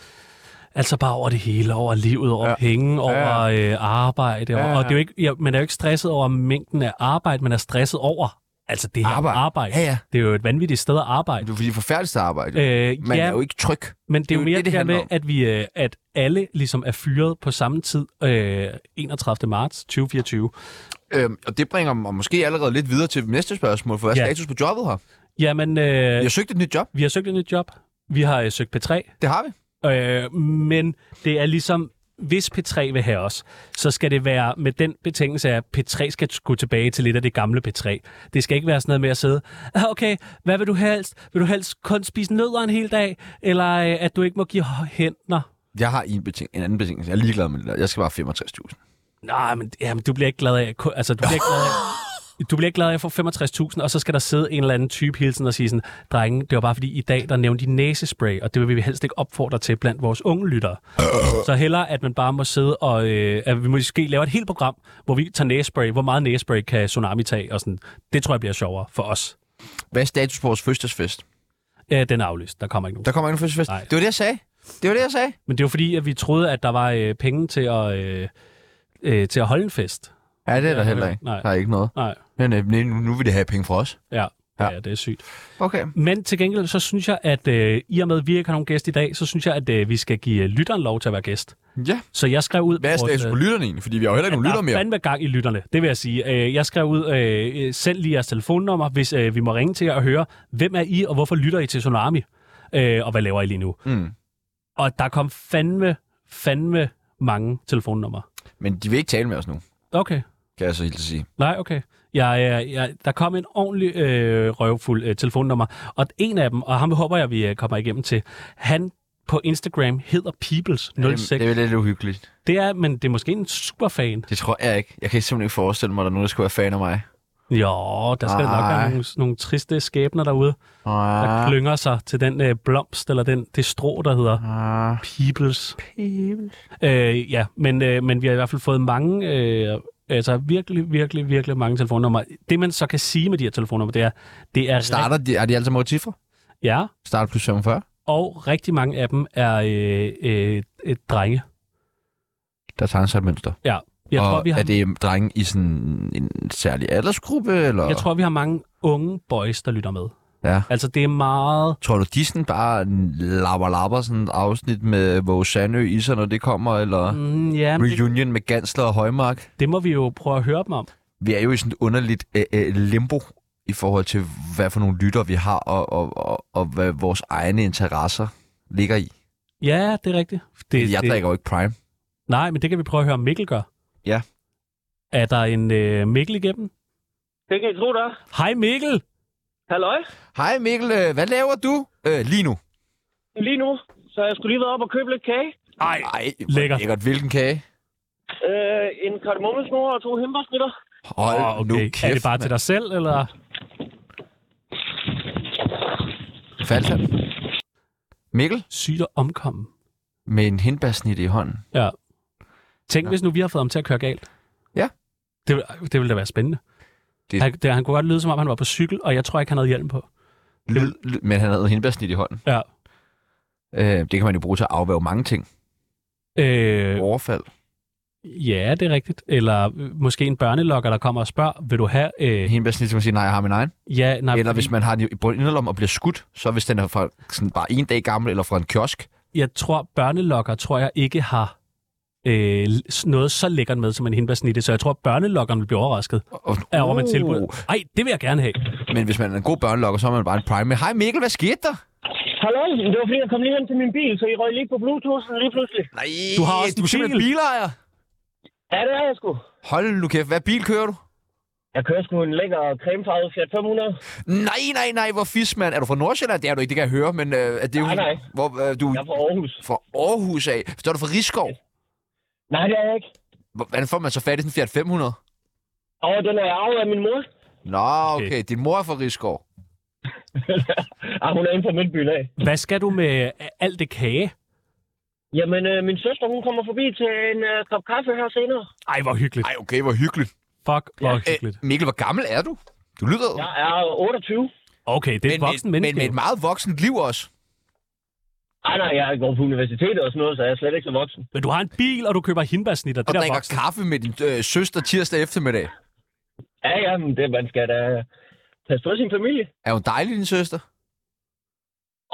S2: Altså bare over det hele, over livet, over ja.
S1: Ja.
S2: penge,
S1: Ja,
S2: over
S1: ja.
S2: øh, arbejde. Over,
S1: Ja, ja.
S2: Og det er jo ikke, ja, man er jo ikke stresset over mængden af arbejde, man er stresset over altså det her arbejde.
S1: Arbejde.
S2: arbejde.
S1: Ja, ja.
S2: Det er jo et vanvittigt sted at arbejde.
S1: Du er fordi forfærdeligt arbejde.
S2: Øh,
S1: Man
S2: ja,
S1: er jo ikke tryg.
S2: men det er jo
S1: det,
S2: mere det,
S1: det
S2: der
S1: handler
S2: med,
S1: om.
S2: at, vi, øh, at alle ligesom er fyret på samme tid øh, 31. marts 2024.
S1: Øhm, og det bringer mig måske allerede lidt videre til næste spørgsmål, for hvad er
S2: Ja.
S1: status på jobbet her?
S2: Jamen, øh,
S1: Jeg søgte et nyt job.
S2: vi har søgt et nyt job. Vi har øh, søgt P3.
S1: Det har vi.
S2: Øh, men det er ligesom, hvis P3 vil have os, så skal det være med den betingelse, at P3 skal t- gå tilbage til lidt af det gamle P3. Det skal ikke være sådan noget med at sidde, "Ah, okay, hvad vil du helst? Vil du helst kun spise nødder en hel dag? Eller øh, at du ikke må give hå- hænder?
S1: Jeg har en, beting- en anden betingelse. Jeg er ligeglad med det der. Jeg skal bare have 65.000.
S2: Nej, men jamen, du bliver ikke glad af... ku- Altså, du bliver ikke glad af... Du bliver ikke glad af at få 65.000, og så skal der sidde en eller anden type hele tiden og sige sådan, drenge, det var bare fordi i dag, der nævnte de næsespray, og det vil vi helst ikke opfordre til blandt vores unge lyttere. Så hellere, at man bare må sidde og, øh, at vi måske laver et helt program, hvor vi tager næsespray, hvor meget næsespray kan Tsunami tage, og sådan, det tror jeg bliver sjovere for os.
S1: Hvad er status på vores fødselsfest?
S2: Øh, den er aflyst, der kommer ikke nogen.
S1: Der kommer ikke en fødselsfest.
S2: Nej.
S1: Det var det, jeg sagde. Det var det, jeg sagde.
S2: Men det er jo fordi, at vi troede, at der var øh, penge til at, øh, øh, til at holde en fest.
S1: Ja, det er der
S2: Ja,
S1: heller ikke.
S2: nej.
S1: Der er ikke noget.
S2: Nej,
S1: Men øh, nej, nu- nu vil det have penge fra os.
S2: ja, ja.
S1: Ja.
S2: ja det er sygt.
S1: Okay.
S2: Men til gengæld, så synes jeg, at øh, i og med, at vi ikke har nogen gæst i dag, så synes jeg, at øh, vi skal give øh, lytteren lov til at være gæst.
S1: Ja.
S2: Så jeg skrev ud... øh,
S1: Hvad er status på lytterne egentlig? Fordi vi har jo heller ikke nogen lytter
S2: Der er
S1: mere.
S2: fandme gang i lytterne, det vil jeg sige. Øh, jeg skrev ud, øh, øh, send lige jeres telefonnummer, hvis øh, vi må ringe til jer og høre, hvem er I, og hvorfor lytter I til Tsunami? Øh, og hvad laver I lige nu?
S1: Mm.
S2: Og der kom fandme, fandme mange telefonnumre.
S1: Men de vil ikke tale med os nu,
S2: Okay.
S1: kan jeg så helt sige.
S2: Nej, okay. Jeg, jeg, øh, jeg, der kom en ordentlig øh, røvfuld øh, telefonnummer, og en af dem, og ham håber jeg, vi øh, kommer igennem til, han på Instagram hedder Peoples06.
S1: Det, det
S2: Det,
S1: er lidt uhyggeligt.
S2: det er, men det er måske en superfan.
S1: Det tror jeg ikke. Jeg kan simpelthen ikke forestille mig, at der er nogen, der skulle være fan af mig.
S2: Jo, der skal Ej. nok være
S1: Ej.
S2: nogle, nogle triste skæbner derude, der
S1: Ah,
S2: klynger sig til den øh, blomst, eller den, det strå, der hedder
S1: ah.
S2: Peoples. Øh, ja, men, øh, men vi har i hvert fald fået mange, øh, altså virkelig, virkelig, virkelig mange telefonnumre. Det, man så kan sige med de her telefonnumre, det er, det er...
S1: Starter de, er de altså alle sammen over cifre?
S2: Ja,
S1: Starter plus 45?
S2: Og rigtig mange af dem er øh, øh, øh, drenge.
S1: Der tager sig et mønster.
S2: Jeg
S1: og
S2: tror, vi har,
S1: er det drenge i sådan en særlig aldersgruppe? Eller?
S2: jeg tror, vi har mange unge boys, der lytter med.
S1: Ja.
S2: Altså, det er meget...
S1: Tror du, de sådan bare lapper lapper sådan et afsnit med Våge Sandø i sig, når det kommer, eller mm.
S2: Mm, ja, men det,
S1: reunion med Gansler og Højmark?
S2: det må vi jo prøve at høre dem om.
S1: Vi er jo i sådan et underligt øh, øh, limbo i forhold til, hvad for nogle lytter vi har, og, og, og, og hvad vores egne interesser ligger i.
S2: Ja, det er rigtigt. Det,
S1: Jeg
S2: det,
S1: drikker jo ikke Prime.
S2: Nej, men det kan vi prøve at høre, om Mikkel gør.
S1: Ja.
S2: Er der en øh, Mikkel igennem?
S5: Det kan jeg tro, der er.
S2: Hej Mikkel!
S5: Halløj.
S1: Hej Mikkel, øh, hvad laver du øh, lige nu?
S5: Lige nu, så har jeg skulle lige været op og købe lidt kage.
S2: Ej,
S1: Ej, hvor
S2: Lækkert.
S1: lækkert. Hvilken kage?
S5: Øh, en kardemommesnor og to himbersnitter.
S1: Hold
S2: oh, okay.
S1: nu kæft,
S2: er det bare
S1: mand.
S2: til dig selv, eller?
S1: Faldt han? Mikkel
S2: Sygt at omkomme.
S1: med en hindbærsnit i hånden.
S2: Ja. Tænk, hvis nu vi har fået ham til at køre galt.
S1: Ja.
S2: Det, vil- det ville da være spændende.
S1: Det-
S2: Det... Han, det, han kunne godt lyde, som om han var på cykel, og jeg tror ikke, han havde hjelm på.
S1: Lyd, lyd, men han havde hindbærsnit i hånden.
S2: Ja.
S1: Øh, det kan man jo bruge til at afværge mange ting.
S2: Øh,
S1: Overfald.
S2: ja, det er rigtigt. Eller øh, måske en børnelokker, der kommer og spørger, vil du have... Øh,
S1: Hindbærsnit, så man siger, nej, jeg har min egen.
S2: ja, nej,
S1: Eller
S2: fordi-
S1: hvis man har den i på en inderlom og bliver skudt, så hvis den er fra sådan bare en dag gammel eller fra en kiosk.
S2: jeg tror, børnelokker tror jeg ikke har øh, s- noget så lækkert med som en hindbærsnitte, så jeg tror, børnelokkeren vil blive overrasket
S1: Og,
S2: af, om man
S1: Uh.
S2: tilbud. Ej, det vil jeg gerne have.
S1: Men hvis man er en god børnelokker, så er man bare en prime med, hej Mikkel, hvad skete der?
S5: Halløj, men det var fordi, jeg kom lige hen til min bil, så I røg lige på Bluetooth lige pludselig.
S1: Nej,
S2: Du har også
S1: du
S2: en
S1: er simpelthen
S2: bil.
S1: bilejer.
S5: Ja, det er jeg sgu.
S1: Hold nu kæft, hvad bil kører du?
S5: Jeg kører sgu en lækker cremefarvet Fiat 500.
S1: Nej, nej, nej, hvor fisk, mand. Er du fra Nordsjælland? Det er du ikke, det kan jeg høre, men øh, er det jo...
S5: Nej, nej.
S1: Hvor, øh, du
S5: Jeg er fra Aarhus.
S1: fra Aarhus af. Så er du fra Rigskov.
S5: Nej, det er jeg ikke.
S1: Hvor- Hvordan får man så fat i sådan en Fiat 500?
S5: Og den er jeg arvet af min mor.
S1: Nå, okay. Din mor er fra Rigskov.
S5: ah, hun er inde på Midtbyen af.
S2: Hvad skal du med øh, alt det kage?
S5: Jamen, øh, min søster, hun kommer forbi til en øh, kop kaffe her senere.
S2: Ej, hvor hyggeligt.
S1: Ej, øh, okay, hvor hyggeligt.
S2: Fuck, hvor
S5: Ja.
S2: hyggeligt.
S1: Æ, Mikkel, hvor gammel er du? Du lyder jo.
S5: Jeg er 28.
S2: Okay, det er et
S1: med-
S2: voksen
S1: men
S2: menneske.
S1: med et meget voksent liv også.
S5: Ej, Ah, nej, jeg går på universitetet og sådan noget, så jeg er slet ikke så voksen.
S2: men du har en bil, og du køber hindbærsnitter.
S1: Og
S2: Det der
S1: drikker
S2: voksen.
S1: kaffe med din øh, søster tirsdag eftermiddag.
S5: Ja, ja, men det, man skal da passe på sin familie.
S1: Er hun dejlig, din søster?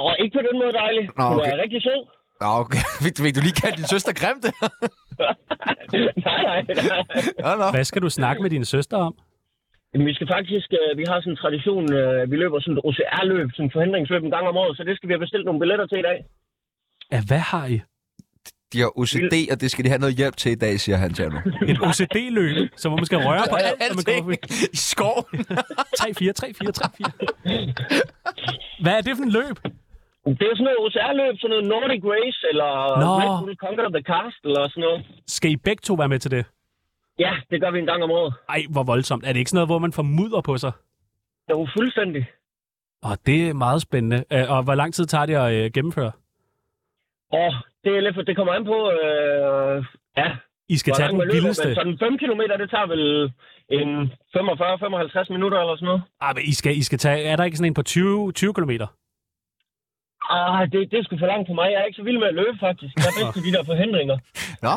S5: Og ikke på den måde dejlig.
S1: Nå,
S5: Nå, okay. Hun
S1: okay.
S5: er rigtig sød.
S1: Nå, okay. Fik, fik du lige kaldt din søster grimt?
S5: nej, nej, nej.
S1: ja, nå.
S2: Hvad skal du snakke med din søster om?
S5: Jamen, Vi skal faktisk, øh, vi har sådan en tradition, øh, vi løber sådan et OCR-løb, sådan et forhindringsløb en gang om året, så det skal vi have bestilt nogle billetter til i dag.
S2: Ja, hvad har I?
S1: De har OCD, og det skal de have noget hjælp til i dag, siger han til ham nu.
S2: Et OCD-løb, som man skal røre på alt, når man kommer forbi.
S1: I skoven.
S2: 3, 4, 3, 4, 3, 4. Hvad er det for en løb?
S5: Det er sådan noget OCR-løb, sådan noget Nordic Race, eller
S2: Nå.
S5: Red Bull Conquer the Cast, eller sådan noget.
S2: Skal I begge to være med til det?
S5: Ja, det gør vi en gang om året.
S2: Ej, hvor voldsomt. Er det ikke sådan noget, hvor man får mudder på sig?
S5: Det er jo fuldstændig.
S2: Og det er meget spændende. Øh, Og hvor lang tid tager det at øh, gennemføre?
S5: Og det er lidt for, det kommer an på, øh, ja,
S2: I skal tage den vildeste.
S5: men sådan 5 km, det tager vel en 45-55 minutter eller sådan noget.
S2: Ah, men I skal, I skal tage, er der ikke sådan en på 20, 20 km?
S5: Ah, det, det er sgu for langt for mig. Jeg er ikke så vild med at løbe, faktisk. Jeg er bedst til de der forhindringer.
S1: Nå,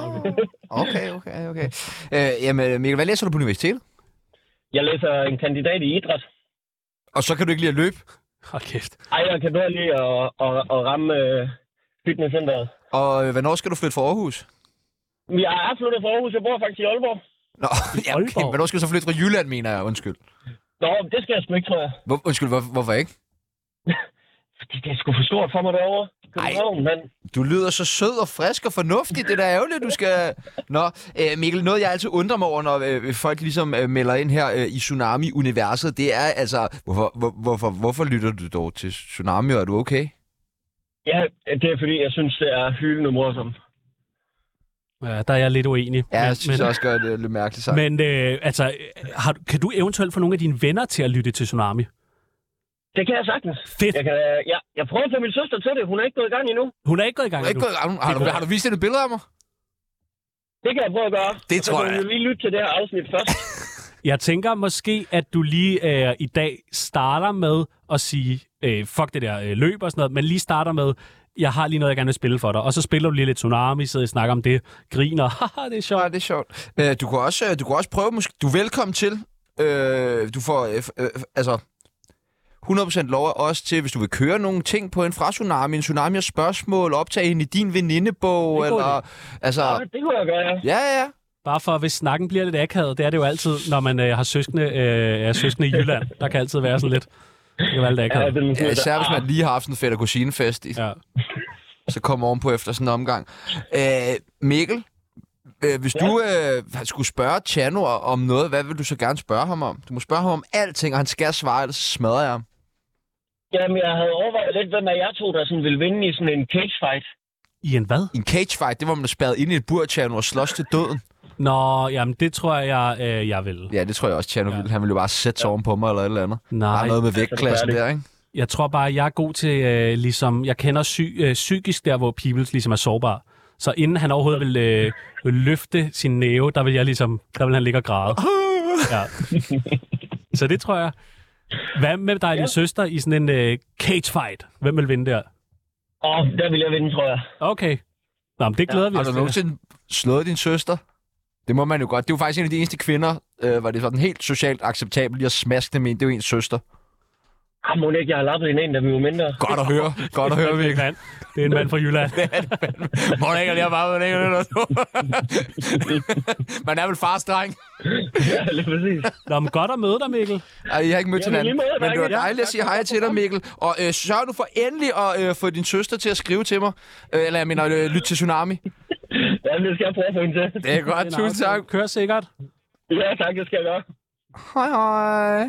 S1: okay, okay, okay. Øh, jamen, Mikkel, hvad læser du på universitetet?
S5: Jeg læser en kandidat i idræt.
S1: Og så kan du ikke lide at løbe?
S2: Hold kæft.
S5: Ej, jeg kan bedre lige at, at, at ramme øh, fitnesscenteret.
S1: Og øh, hvornår skal du flytte fra Aarhus?
S5: Jeg er flyttet fra Aarhus. Jeg bor faktisk i Aalborg.
S1: Nå, ja, okay.
S2: Aalborg.
S1: Hvornår skal du så flytte fra Jylland, mener jeg? Undskyld.
S5: Nå, men det skal jeg sgu ikke, tror jeg.
S1: Hvor, undskyld, hvor, hvorfor ikke?
S5: Fordi det er sgu for stort for mig derovre. København, men
S1: Du lyder så sød og frisk og fornuftig. Det er da ærgerligt, du skal... Nå, øh, Mikkel, noget jeg altid undrer mig over, når øh, folk ligesom øh, melder ind her øh, i Tsunami-universet, det er altså... Hvorfor, hvor, hvorfor, hvorfor lytter du dog til Tsunami, og er du okay?
S5: ja, det er fordi, jeg synes, det er hyldende morsomt.
S2: Ja, der er jeg lidt uenig.
S1: Ja,
S2: Men-
S1: jeg synes
S2: men,
S1: også godt, det er lidt mærkeligt sagt. Men...
S2: Men øh, altså, øh, har, du- kan du eventuelt få nogle af dine venner til at lytte til Tsunami?
S5: Det kan jeg sagtens.
S2: Fedt.
S5: Jeg, kan, jeg, jeg prøver at få min søster til det. Hun er ikke gået i gang endnu.
S2: Hun er ikke gået i gang
S1: Har, du,
S2: endnu.
S1: har, du, har du vist et billede af mig?
S5: Det kan jeg prøve at gøre.
S1: Det
S5: Og så
S1: tror
S5: kan
S1: jeg.
S5: hun jo lige lytte til det her afsnit først.
S2: Jeg tænker måske, at du lige øh, i dag starter med at sige, øh, fuck det der øh, løb og sådan noget, men lige starter med, jeg har lige noget, jeg gerne vil spille for dig. Og så spiller du lige lidt Tsunami, sidder og snakker om det, griner, haha, det er
S1: Nej,
S2: sjovt.
S1: det er sjovt. Øh, du, kan også, øh, du kan også prøve, måske, du er velkommen til. Øh, du får øh, f- øh, f- altså 100% lov af os til, hvis du vil køre nogle ting på en fra Tsunami, en Tsunami og spørgsmål, optage hende i din venindebog,
S2: Det er en god
S1: eller... Altså,
S5: Ja, Ah, det kunne jeg gøre.
S1: ja, ja, ja.
S2: Bare for, hvis snakken bliver lidt akavet, det er det jo altid, når man øh, har søskende, øh, er søskende i Jylland. Der kan altid være sådan lidt, det kan være lidt
S5: Ja,
S2: akavet.
S5: den,
S1: Ja, især hvis man lige har haft en fætter kusinefest, i-
S2: Ja.
S1: så kommer ovenpå efter sådan en omgang. Øh, Mikkel, øh, hvis ja. du øh, skulle spørge Chano om noget, hvad vil du så gerne spørge ham om? Du må spørge ham om alting, og han skal svare, ellers så smadrer jeg ham.
S5: Jamen, jeg havde overvejet lidt, hvem af jer to, der sådan ville vinde i sådan en cagefight.
S2: I en hvad?
S1: I en cagefight, det var man spærret ind i et bur, Chano, og slås til døden.
S2: Nå, jamen det tror jeg, øh, jeg vil.
S1: Ja, det tror jeg også, Chano
S2: Ja.
S1: ja. ville. Han ville jo bare sætte sig ja. ovenpå mig eller et eller andet. Der er
S2: Nej,
S1: noget med vægtklassen
S5: det er
S1: der, ikke?
S2: jeg tror bare, jeg er god til, øh, ligesom, jeg kender sy, øh, psykisk der, hvor Peebles ligesom er sårbar. Så inden han overhovedet vil øh, løfte sin næve, der vil jeg ligesom, der vil han ligge og græde. Ja. Så det tror jeg. Hvad med dig og din søster i sådan en øh, cagefight? Hvem vil vinde der?
S5: Åh, der ville jeg vinde, tror jeg.
S2: Okay. Nå, men det glæder vi
S1: Har
S2: os
S1: du
S2: til.
S1: nogensinde slået din søster? Det må man jo godt. Det var faktisk en af de eneste kvinder, øh, hvor det var den helt socialt acceptabelt lige at smaske dem ind. Det er jo ens søster.
S5: Ah, må ikke, jeg har lappet en en, da vi var mindre.
S1: Godt at høre. Godt at høre,
S2: Det er en
S1: Mikkel.
S2: mand. Det er en mand fra Jylland.
S1: Må ikke lige bare, man ikke det Man er vel fars dreng.
S5: Ja, lige præcis.
S2: Nå, men godt at møde dig, Mikkel.
S1: Ej, jeg har ikke mødt
S5: Jamen,
S1: hinanden.
S5: lige måde,
S1: Men det var
S5: drenge. Ja,
S1: dejligt at sige hej til dig, Mikkel. Og øh, sørg nu for endelig at øh, få din søster til at skrive til mig. Øh, eller jeg mener, øh, lyt til Tsunami.
S5: Jamen, det skal jeg prøve at få hende til.
S1: Det er godt. Tusind tak.
S2: altså, Kør sikkert.
S5: Ja, tak, det skal jeg gøre.
S1: Hej, hej.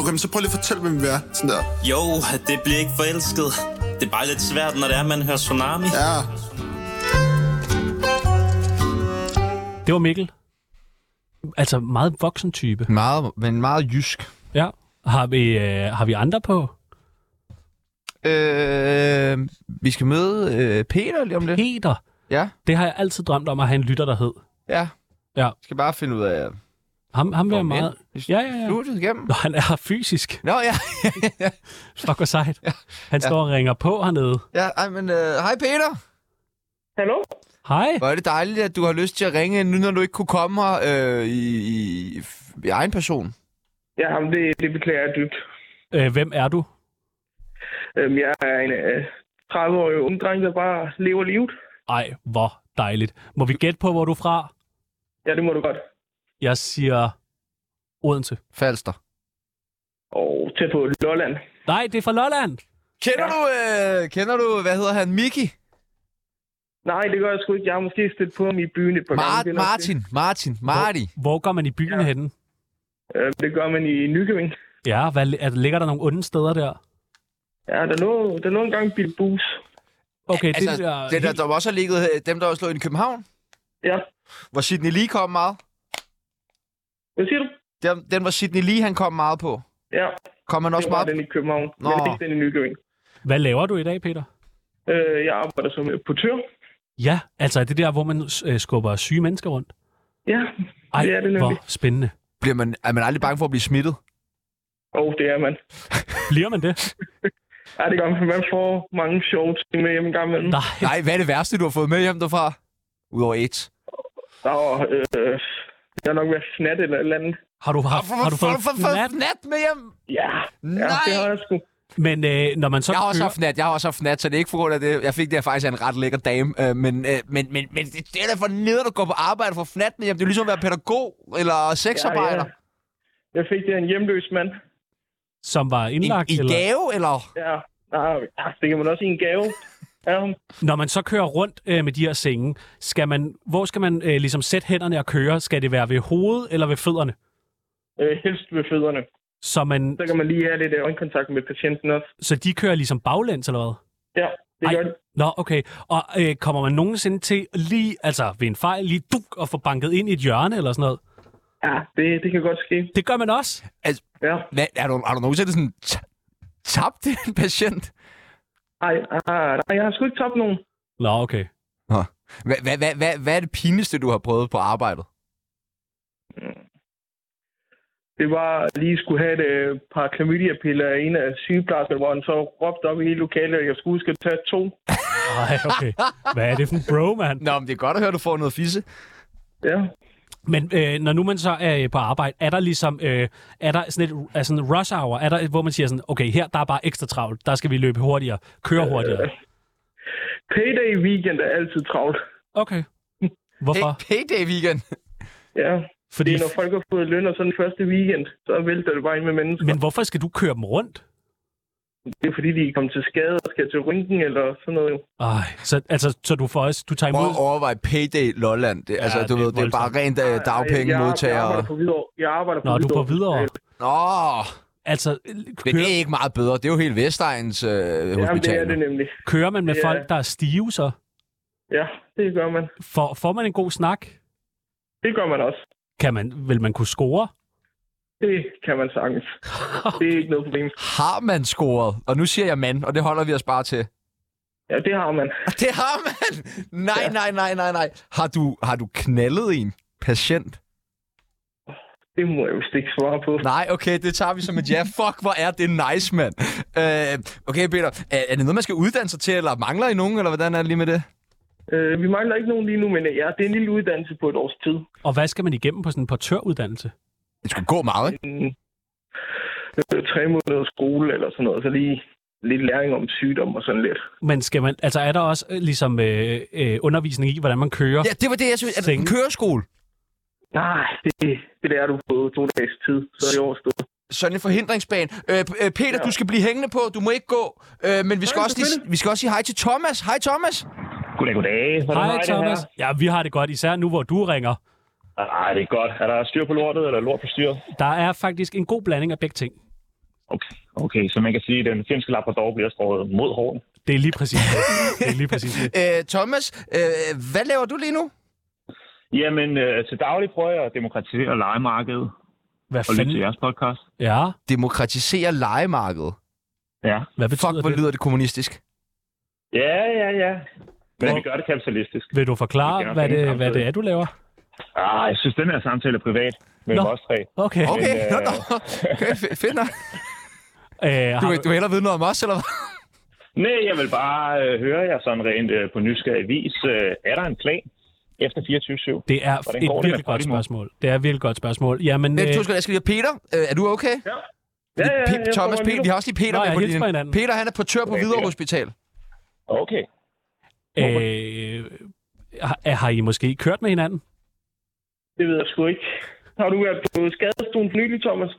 S6: Okay, men så prøv lige at fortælle, hvem vi er. Sådan der.
S7: Jo, det bliver ikke forelsket. Det er bare lidt svært, når det er, man hører tsunami.
S6: Ja.
S2: Det var Mikkel. Altså, meget voksen type.
S1: Meget, men meget jysk.
S2: Ja. Har vi, øh, har vi andre på?
S1: Øh, vi skal møde øh, Peter lige om lidt.
S2: Peter.
S1: Ja,
S2: Det har jeg altid drømt om at have en lytter, der hed.
S1: ja.
S2: Ja.
S1: Skal bare finde ud af...
S2: Ham, ham vil jeg
S1: om ind
S2: meget...
S1: i
S2: Ja, ja, ja.
S1: Studiet igennem.
S2: Nå, han er her fysisk.
S1: Nå, ja.
S2: Fuck, hvor sejt. Han står og ringer på hernede.
S1: ja ej, men, øh, hej Peter.
S5: Hallo?
S2: Hej.
S1: Hvor er det dejligt, at du har lyst til at ringe, nu når du ikke kunne komme her øh, i, i, i egen person.
S8: Ja, ham, det, det beklager jeg dybt.
S2: Øh, hvem er du?
S8: Øhm, jeg er en øh, 30-årig ung dreng, der bare lever livet.
S2: Ej, hvor dejligt. Må vi gætte på, hvor du er fra?
S8: Ja, det må du godt.
S2: Jeg siger Odense.
S1: Falster.
S8: Og tæt på Lolland.
S2: Nej, det er fra Lolland.
S1: Kender, ja. du, øh, kender du, hvad hedder han, Miki?
S8: Nej, det gør jeg sgu ikke. Jeg har måske stødt på ham i byen et par gange.
S1: Mar-
S8: Det er nok
S1: Martin, Martin, Marty.
S2: Hvor går man i byen ja. henne?
S8: Det. Øhm, det gør man i Nykøbing.
S2: Ja, hvad, er, ligger der nogle onde steder der?
S8: Ja, der lå, der lå engang en bil bus.
S2: Okay,
S1: Altså,
S2: det der...
S1: det der, der også har ligget, øh, dem der også lå inde i København,
S8: Ja,
S1: hvor Sidney Lee kom meget.
S8: hvad siger du?
S1: Den, den var Sidney Lee, han kom meget på.
S8: Ja,
S1: Kom han også
S8: det var
S1: meget
S8: den i København.
S1: Nå.
S8: Nå. Men ikke den i Nykøbing.
S2: Hvad laver du i dag, Peter?
S8: Øh, jeg arbejder som øh, portør.
S2: Ja, altså er det der, hvor man øh, skubber syge mennesker rundt?
S8: Ja,
S2: Ej,
S8: det er det nemlig.
S2: hvor spændende.
S1: Bliver man, er man aldrig bange for at blive smittet?
S8: Og oh, det er man.
S2: Bliver man det?
S8: Ja, det gør man. Man får mange sjove ting med hjemme en gang imellem.
S2: Nej.
S1: Nej, hvad er det værste, du har fået med hjem derfra? Udover et.
S8: Der var, øh, jeg har nok været snat eller et eller andet.
S2: Har du, haft, har du fået fnat?
S1: nat med hjem?
S8: Ja, ja
S1: Nej!
S8: det har jeg sgu.
S2: Men øh, når man så
S1: Jeg har også
S2: kører...
S1: haft nat, jeg har også haft nat, så det er ikke på grund af det. Jeg fik det her faktisk af en ret lækker dame, øh, men, øh, men, men, men det det er da for nede at gå på arbejde for fnat med hjem. Det er jo ligesom at være pædagog eller sexarbejder.
S8: Ja, ja. Jeg fik det af en hjemløs mand.
S2: som var indlagt?
S1: I, I
S2: eller?
S1: gave, eller?
S8: Ja, nej, ja, det kan man også i en gave. Ja, hun-
S2: Når man så kører rundt øh, med de her senge, skal man, hvor skal man øh, ligesom sætte hænderne og køre? Skal det være ved hovedet eller ved fødderne?
S8: øh, helst ved fødderne.
S2: Så, man,
S8: Så kan man lige have lidt øh, øjenkontakt med patienten også.
S2: så de kører ligesom baglæns eller hvad?
S8: Ja, det
S2: Ej.
S8: gør det.
S2: Nå, okay. Og øh, kommer man nogensinde til lige, altså ved en fejl, lige duk og få banket ind i et hjørne eller sådan noget?
S8: Ja, det, det kan godt ske.
S2: Det gør man også.
S8: Ja.
S1: Hvad, er du, har du nogensinde sådan t- tabt en patient?
S8: Ej, ah, nej, jeg har sgu ikke tabt nogen.
S2: Nå, okay.
S1: Nå. Hva- hva- hva- hva- Hvad er det pinligste, du har prøvet på arbejdet?
S9: Det var lige skulle have et øh, par klamydiapiller af en af sygeplejerskerne, hvor han så råbte op i hele lokalet, at jeg skulle huske at tage to.
S2: Nej, okay. Hvad er det for en bro, mand?
S1: Nå, men det er godt at høre, at du får noget fisse.
S9: Ja.
S2: Men øh, når nu man så er øh, på arbejde, er der ligesom, øh, er der sådan et altså en rush hour, er der, hvor man siger sådan, okay, her der er bare ekstra travlt, der skal vi løbe hurtigere, køre hurtigere.
S9: Payday weekend er altid travlt.
S2: Okay. Hvorfor?
S1: Hey, payday weekend.
S9: Ja.
S2: Fordi,
S9: Det er, når folk har fået løn og sådan den første weekend, så vælter det bare ind med mennesker.
S2: men hvorfor skal du køre dem rundt?
S9: Det er fordi, de er kommet til skade og skal til rynken eller sådan noget. jo.
S2: Ej, så, altså, så du får også, du tager
S1: Prøv at
S2: imod...
S1: overveje payday Lolland. Det, ja, altså, du
S2: det er
S1: ved, det er bare rent uh,
S9: Jeg, jeg
S1: dagpengemodtagere.
S9: arbejder på Hvidovre. Jeg arbejder på
S2: Nå, du er på
S9: Øh.
S2: videre.
S1: Nå,
S2: Altså,
S1: men det
S2: kører,
S1: er ikke meget bedre. Det er jo helt Vestegnens øh,
S9: Jamen, det er
S1: hospital.
S9: det nemlig.
S2: kører man med
S9: Ja.
S2: folk, der er stive, så
S9: Ja, det gør man.
S2: får, får man en god snak?
S9: Det gør man også.
S2: Kan man, vil man kunne score?
S9: Det kan man sagtens. Det er ikke noget problem.
S1: Har man scoret? Og nu siger jeg mand, og det holder vi os bare til.
S9: Ja, det har man.
S1: Og Det har man! Nej, nej, nej, nej, nej. Har du, har du knaldet en patient?
S9: Det må jeg vist ikke svare på.
S1: Nej, okay, det tager vi som et ja. Fuck, hvor er det nice, mand. Øh, okay, Peter, er, er det noget, man skal uddanne sig til, eller mangler I nogen, eller hvordan er det lige med det?
S9: Øh, vi mangler ikke nogen lige nu, men øh, ja, det er en lille uddannelse på et års tid.
S2: Og hvad skal man igennem på sådan en portøruddannelse?
S1: Det skulle gå meget, ikke?
S9: Øh, tre måneder skole eller sådan noget, så lige lidt læring om sygdom og sådan lidt.
S2: Men skal man, altså er der også øh, ligesom øh, øh, undervisning i, hvordan man kører?
S1: Ja, det var det, jeg synes. Er det en
S2: Senge.
S1: køreskole?
S9: Nej, det, det lærer du på to dages tid, så er det overstået.
S1: Sådan en forhindringsbane. Øh, p- øh, Peter, ja. du skal blive hængende på. Du må ikke gå. Øh, men vi skal,
S9: Nej,
S1: også lige,
S9: selvfølgelig.
S1: vi skal også sige hej til Thomas. Hej, Thomas.
S5: Goddag, goddag. Hvordan har
S2: Hej
S5: I det
S2: Thomas. Ja, vi har det godt, især nu hvor du ringer.
S5: her? Ej, Ah, det er godt. Er der styr på lortet, eller lort på styret?
S2: Der er faktisk en god blanding af begge ting.
S5: Okay, okay så man kan sige, at den finske Labrador bliver skåret mod hården.
S2: Det er lige præcis det. det, er lige præcis det.
S1: Øh, Thomas, øh, hvad laver du lige nu?
S5: Jamen, øh, til daglig prøver jeg at demokratisere legemarkedet
S2: Hvad
S5: og lytte til
S2: fanden?
S5: jeres podcast.
S2: Ja,
S1: Demokratisere legemarkedet.
S5: Ja,
S2: hvad
S1: Fuck,
S2: betyder
S1: hvor
S2: det?
S1: lyder det kommunistisk.
S5: ja, ja. ja. Men vi gør det kapitalistisk.
S2: Vil du forklare, hvad det, hvad det er, du laver?
S5: Ah, jeg synes, den her samtale er privat med
S2: Nå.
S5: os tre.
S2: Okay.
S1: Okay,
S5: Men,
S1: nå,
S5: øh,
S1: nå. Okay, fe- fedt nok.
S2: Øh,
S1: Du,
S2: har,
S1: vil- du vil hellere vide noget om os, eller hvad?
S5: Nej, jeg vil bare øh, høre jer sådan rent øh, på nysgerrig vis. Øh, er der en plan efter 24-7?
S2: det er
S5: Hvordan
S2: et
S5: går det med
S2: virkelig godt
S5: Podimo?
S2: spørgsmål. Det er et virkelig godt spørgsmål. Jamen, øh,
S1: Øh, du skal, jeg skal lige have Peter. Øh, er du okay?
S5: Ja, ja,
S1: Pe-
S5: jeg
S1: Thomas,
S5: prøver
S1: Peter,
S5: lige
S1: vi
S5: nu.
S1: har også lige Peter
S2: Nå,
S1: med
S2: jeg
S1: på
S2: hilser på
S1: linjen.
S2: hinanden.
S1: Peter, han er portør på
S5: Goddag,
S1: Hvidovre
S5: Peter.
S1: Hospital.
S5: Okay.
S2: øh, har, har I måske kørt med hinanden?
S9: Det ved jeg sgu ikke. Har du været på skadestuen for nylig, Thomas?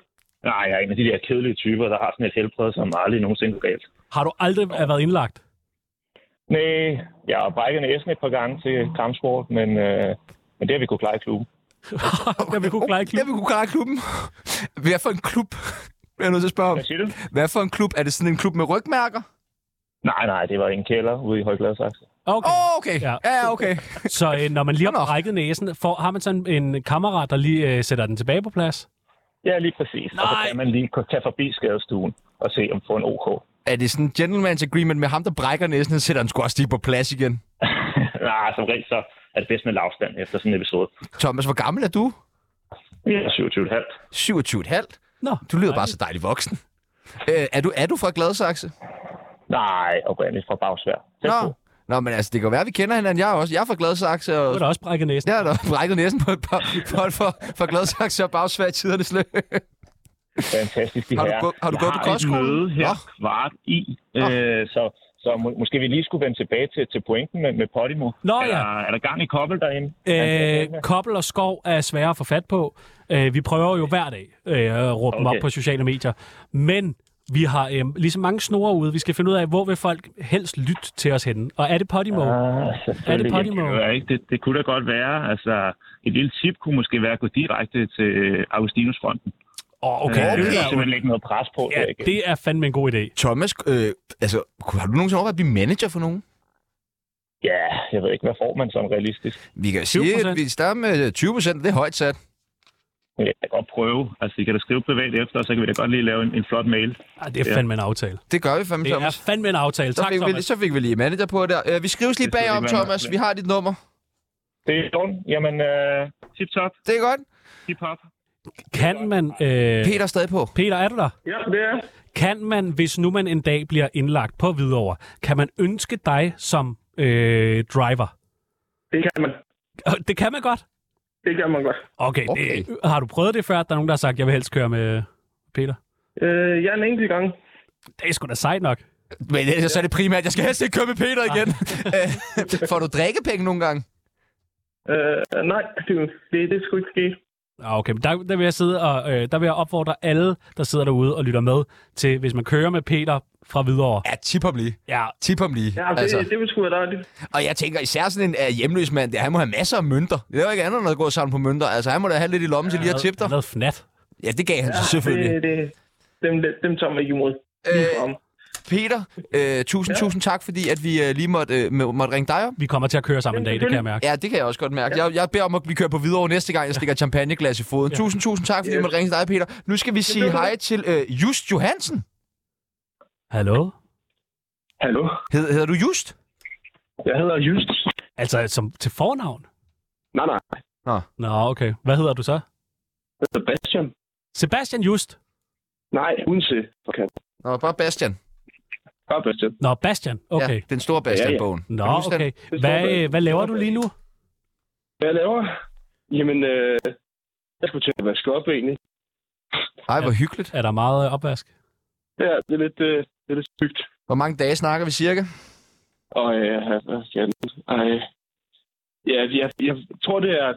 S5: Nej, jeg er en af de der kedelige typer, der har sådan et helbred, som aldrig nogensinde går galt.
S2: Har du aldrig været indlagt?
S5: Nej, jeg har brækket næsen et par gange til kampsport, men, øh, men det har vi kunne klare i klubben.
S2: Jeg vil kunne klare i
S1: Ja,
S2: klubben.
S1: vi kunne klare klubben. Hvad for en klub? Jeg er nødt til at spørge om.
S5: Hvad siger du?
S1: Hvad for en klub? Er det sådan en klub med rygmærker?
S5: Nej, nej, det var en kælder ude i Højgladsaxe.
S2: Okay.
S1: Åh, oh, okay.
S2: Ja.
S1: Ja, ja, okay.
S2: Så øh, når man lige
S1: Nå, nå.
S2: har brækket næsen, får, har man sådan en kammerat, der lige øh, sætter den tilbage på plads?
S5: Ja, lige præcis. Og så
S2: Nej.
S5: kan man lige gå- tage forbi skadestuen og se, om får en OK.
S1: Er det sådan en gentleman's agreement med ham, der brækker næsen, han sætter han sgu også lige på plads igen?
S5: nej, som regel så er det bedst med lavstand efter sådan en episode.
S1: Thomas, hvor gammel er du?
S5: Jeg er 27,5.
S1: 27,5.
S2: Nå,
S1: Du lyder
S2: nej.
S1: bare så dejlig voksen. Øh, er, du, er du fra Gladsaxe?
S5: Nej, oprindeligt fra Bagsvær. Tæt
S1: Nå.
S5: på.
S1: Nå, men altså, det kan være, vi kender hinanden. Jeg er også. Jeg er fra Gladsaxe,
S2: Du har
S1: og
S2: da også brækket næsen.
S1: jeg har da brækket næsen på et par folk for, for Gladsaxe og bagsvær i tidernes løb.
S5: Fantastisk, de
S1: Har du
S5: her.
S1: gå- har du
S5: Jeg
S1: gået på
S5: har et
S1: kostskolen?
S5: møde her
S1: Nå.
S5: kvart i, øh, så, så må, måske vi lige skulle vende tilbage til, til pointen med, med Podimo.
S2: Nå
S5: er,
S2: ja.
S5: der, er der gang i kobbel derinde?
S2: Øh, kobbel og skov er svære at få fat på. Øh, vi prøver jo hver dag øh, at råbe okay. dem op
S5: Okay.
S2: på sociale medier. Men vi har øh, ligesom mange snore ude. Vi skal finde ud af, hvor vil folk helst lytte til os henne. Og er det Podimo?
S5: Ah, selvfølgelig.
S2: Er det Podimo?
S5: Jeg ved ikke. Det, det kunne da godt være. Altså, et lille tip kunne måske være at gå direkte til øh, Augustinusfronten.
S2: Åh, oh, okay.
S5: Øh,
S2: Øh,
S5: det er simpelthen lægge noget pres på.
S2: ja,
S5: ikke?
S2: det er fandme en god idé.
S1: Thomas, øh, altså, har du nogensinde overvejet at blive manager for nogen?
S5: ja, jeg ved ikke, hvad får man som realistisk?
S1: Vi øh, kan sige, at
S2: 20%.
S1: vi starter med 20 procent. Det er højt sat.
S5: Jeg kan godt
S9: prøve. Altså, I kan da skrive privat efter, og så kan vi da godt lige lave en, en flot mail.
S2: Ej, Ah, det er fandme en aftale.
S1: Det gør vi fandme,
S2: Det er
S1: Thomas.
S2: fandme en aftale.
S1: Så
S2: Tak,
S1: fik, vi, lige-
S2: Thomas.
S1: så fik vi lige manager på der. Øh, vi skrives lige
S9: Det skal
S1: bagom,
S9: lige være
S1: Thomas.
S9: nok.
S1: Vi har dit nummer.
S9: Det er dårligt. Jamen, øh, tip-top,
S1: Det er godt.
S9: tip-hop.
S2: Kan man... Øh,
S1: Peter er stadig på.
S2: Peter, er du der?
S8: Ja, det er
S2: Kan man, hvis nu man en dag bliver indlagt på Hvidovre, kan man ønske dig som øh, driver?
S8: Det kan man.
S2: Og Det kan man godt.
S8: Det kan man godt.
S2: Okay,
S1: Okay.
S2: okay. Det, har du prøvet det før, at der er nogen, der har sagt, jeg vil helst køre med Peter?
S8: Øh, ja, en enkelt gang.
S2: Det er sgu da sejt nok.
S1: Men ellers så er det primært, jeg skal helst ikke køre med Peter igen. Øh, Får du drikkepenge nogle gange?
S8: Øh, nej, det, det, det skulle ikke ske.
S2: Ah, Okay, men der, der vil jeg sidde og øh, der vil jeg opfordre alle, der sidder derude og lytter med, til hvis man kører med Peter fra Hvidovre.
S1: Ja, tip ham lige.
S2: Ja,
S1: Tip ham lige.
S8: Ja, det, altså. det, det ville sgu være dejligt.
S1: Og jeg tænker, især sådan en uh, hjemløs mand, der, han må have masser af mønter. Det er jo ikke andet end at gå sammen på mønter. Altså, han må da have lidt i lommen til lige at tippe dig.
S2: noget fnat.
S1: Ja, det gav han ja, selvfølgelig.
S8: Det, det, dem, dem tager man ikke imod.
S1: Øh, Peter, øh, tusind, ja. tusind tak, fordi at vi øh, lige måtte, øh, må- måtte ringe dig op.
S2: Vi kommer til at køre sammen en dag, det kan jeg mærke.
S1: Ja, det kan jeg også godt mærke. Jeg, jeg beder om at blive kørt på videre næste gang, jeg stikker et champagneglas i foden. Ja. Tusind, tusind tak, fordi jeg måtte ringe til dig, Peter. Nu skal vi sige hej til øh, Just Johansen.
S2: Hallo?
S9: Hallo?
S1: Hed, hedder du Just?
S9: Jeg hedder Just.
S2: Altså som til fornavn?
S9: Nej, nej.
S2: Nå, okay. Hvad hedder du så?
S9: Sebastian.
S2: Sebastian Just.
S9: Nej, uden til. Okay.
S1: Nå, bare Bastian.
S9: Bare Sebastian.
S2: Nå, Bastian. Okay.
S1: Ja, den store Bastian-bogen. Kan
S2: Nå,
S1: du huske den?
S2: okay. Hvad, øh, hvad laver du lige nu?
S9: Hvad jeg laver? Jamen, øh, jeg skulle til at vaske op egentlig.
S1: Ej, hvor hyggeligt.
S2: Er der meget øh, opvask?
S9: Ja, det er lidt, øh, det er lidt sygt.
S1: Hvor mange dage snakker vi cirka?
S9: Og øh, hvad skal jeg Ej. Ja, jeg, jeg tror, det er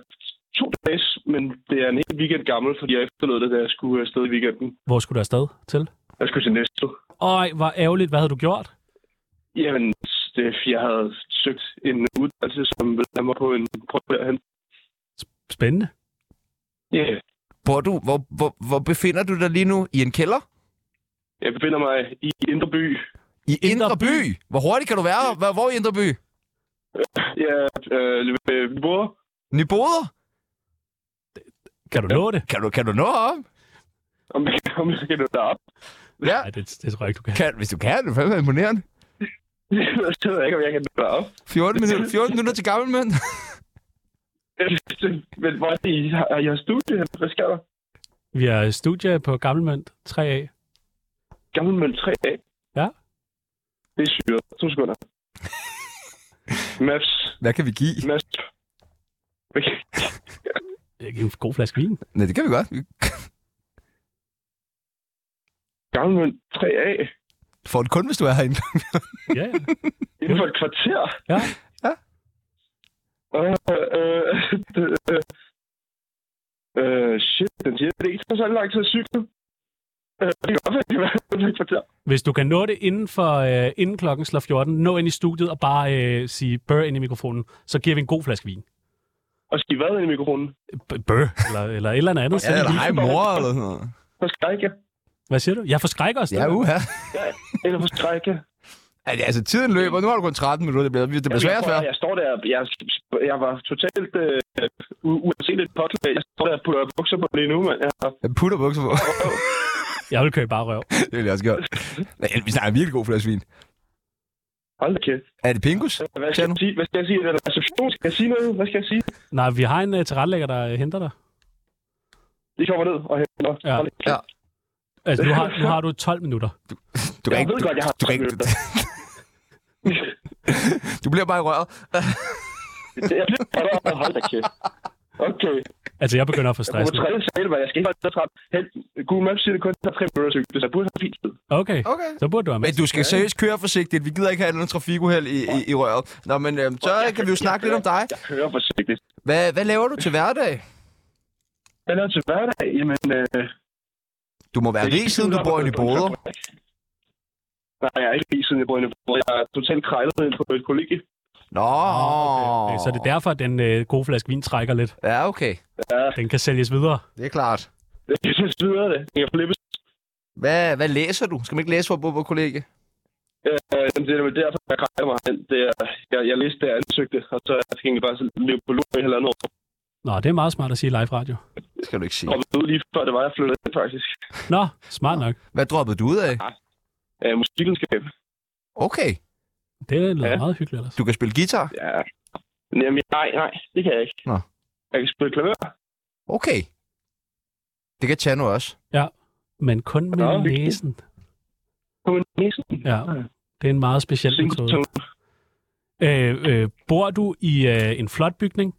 S9: to dage, men det er en hel weekend gammel, fordi jeg efterlod det, da jeg skulle øh, afsted i weekenden.
S2: Hvor skulle du afsted til?
S9: Jeg skulle til næste.
S2: Øj, hvor ærgerligt. Hvad havde du gjort?
S9: Jamen, det, jeg havde søgt en uddannelse, som ville have mig på en prøve derhen.
S2: Spændende.
S9: Ja, yeah.
S1: Bor du, hvor, hvor, hvor befinder du dig lige nu? I en kælder?
S9: jeg befinder mig i Indre By.
S1: I Indre,
S2: Indre
S1: Indre by. by? Hvor hurtigt kan du være? Hvor, hvor i Indre By?
S9: Ja, øh, ved Nyborg.
S1: Nyboder?
S2: Kan du nå det?
S1: Kan du, kan du nå op?
S9: Om jeg kan, om jeg kan nå derop.
S1: Ja,
S2: Nej, det, det tror jeg ikke, du kan.
S1: kan, hvis du kan, det er fandme imponerende.
S9: jeg ved ikke, om jeg kan nå derop.
S1: 14 minutter, 14 minutter til gammel mand.
S9: men hvor er det, I har, I har studie? Hvad sker der?
S2: Vi har studie på Gammelmønd 3A.
S9: Gammel møl 3A.
S2: Ja.
S9: Det er syret. To sekunder. Maps.
S1: Hvad kan vi give?
S9: Maps. Okay.
S2: Jeg giver en god flaske vin.
S1: Nej, det kan vi godt. Vi
S9: Gammel møl 3A.
S1: får det kun, hvis du er herinde.
S2: Ja, ja.
S9: Inden for et kvarter.
S2: Ja.
S1: Ja.
S9: Øh, øh, øh, øh, shit, den siger, det er ikke så lang tid at cykle. Øh, det kan godt være, det kan være inden for et kvarter.
S2: Hvis du kan nå det inden, for, øh, inden klokken slår 14, nå ind i studiet og bare øh, sige bør ind i mikrofonen, så giver vi en god flaske vin.
S9: Og skal I hvad ind i mikrofonen?
S2: Bør? Eller, eller et eller andet andet.
S1: Ja, eller
S2: Send en
S1: hej
S2: hilsen.
S1: mor, eller sådan noget.
S9: For skrække.
S2: Hvad siger du? Jeg forskrækker os.
S1: Ja, uha.
S9: Eller for skrække.
S1: Altså, altså, tiden løber. Nu har du kun 13 minutter. Det bliver, det bliver
S9: jeg,
S1: svært
S9: tror,
S1: før.
S9: jeg står der, jeg, jeg var totalt øh, u- uanseligt påklædt. Jeg står der og putter bukser på lige nu, mand. Jeg har
S1: Jeg putter bukser på.
S2: Jeg vil købe bare røv.
S1: det vil jeg også gøre. Nej, vi snakker virkelig god flaske vin.
S9: Hold da kæft.
S1: Er det pingus?
S9: Hvad
S1: Tag
S9: skal,
S1: nu.
S9: jeg sige? Hvad skal jeg sige? Er der reception? Skal jeg sige noget? Hvad skal jeg sige?
S2: Nej, vi har en uh, tilrettelægger, der øh, henter dig.
S9: De kommer ned og henter.
S2: Ja.
S9: Hold da kæft.
S1: Ja.
S2: Altså, nu har, nu har du 12 minutter.
S1: Du kan
S9: Jeg
S1: ikke,
S9: ved godt, jeg har
S1: du, du, kan ikke, du, du bliver bare i røret.
S9: Jeg bliver Hold da kæft. Okay.
S2: Altså, jeg begynder at få
S9: Jeg
S2: stress.
S9: på
S2: nu.
S9: tredje sagde, at jeg skal ikke være så træt. Helt, Google Maps siger, det kun er tre minutter cykel, så jeg burde have fint tid.
S2: Okay,
S1: Okay.
S2: så burde du have med.
S1: Men du skal seriøst køre forsigtigt. Vi gider ikke have noget trafikuheld i, i, i røret. Nå, men øhm, så kan vi jo snakke lidt om dig.
S9: Jeg kører forsigtigt.
S1: Hvad, hvad laver du til hverdag?
S9: altså, Hvad laver du til hverdag? Jamen, øh,
S1: Du må være
S9: Jeg
S1: rig,
S9: gik
S1: siden
S9: ud
S1: du
S9: op
S1: bor
S9: og
S1: i
S9: gik på en
S1: Nyboder.
S9: fabrik. Nej, jeg er ikke rig, siden jeg bor i Nyboder. Jeg er totalt krejlet ind på et kollegie.
S1: Nå.
S2: Okay, så det er derfor, at den øh, gode flaske vin trækker lidt.
S1: Ja, okay.
S2: Den kan sælges videre.
S1: Det er klart.
S9: Jeg synes, det er det. Jeg kan flippes.
S1: Hvad, hvad læser du? Skal man ikke læse for at bo på kollegie?
S9: Øh, jamen, det er vel derfor, jeg krejler mig ind. Det er, jeg, jeg læste det, jeg ansøgte, og så er jeg egentlig bare så lever på lur i halvandet år.
S2: Nå, det er meget smart at sige i live radio.
S1: Det skal du ikke sige.
S9: droppet ud lige før det var, jeg flyttede ind, faktisk.
S2: Nå, smart nok.
S1: Hvad droppede du ud af?
S9: Øh, musikvidenskab.
S1: Okay,
S2: Det lyder ja.
S9: Ja.
S2: meget hyggeligt ellers.
S1: du kan spille guitar.
S9: Ja. Men Jamen, nej, nej, det kan jeg ikke.
S1: Nå.
S9: Jeg kan spille klaver.
S1: Okay. Det kan Chano også.
S2: Men kun med
S9: Nå, hyggeligt.
S2: næsen.
S9: På min næsen.
S2: Ja, det er en meget speciel metode.
S9: Singleton.
S2: Øh, øh, bor du i øh, en flot bygning?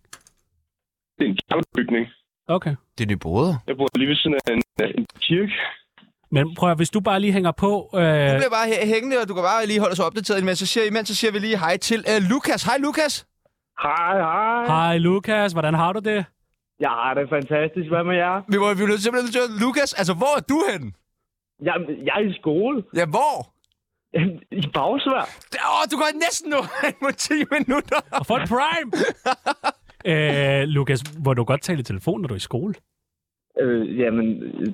S9: Det er en gammel bygning.
S2: Okay.
S1: Det er nye broder.
S9: Jeg bor lige ved siden af en, af en kirke.
S2: Men prøv at, hvis du bare lige hænger på... Øh,
S1: Du bliver bare hæ- hængende, og du kan bare lige holde os opdateret, men så siger, imens så siger vi lige hej til uh, Lukas. Hej Lukas!
S8: Hej, hej.
S2: Hej Lukas, hvordan har du det?
S8: Jeg har det fantastisk. Hvad med jer?
S1: Vi må vi bliver simpelthen nødt til at Lukas, altså hvor er du henne?
S8: Jamen, jeg er i skole.
S1: Ja, hvor?
S8: I bagsvær.
S1: Åh, oh, du går næsten nu hen mod 10 minutter.
S2: Og for et prime! øh, Lukas, må du godt tale i telefon, når du er i skole?
S8: Øh, jamen,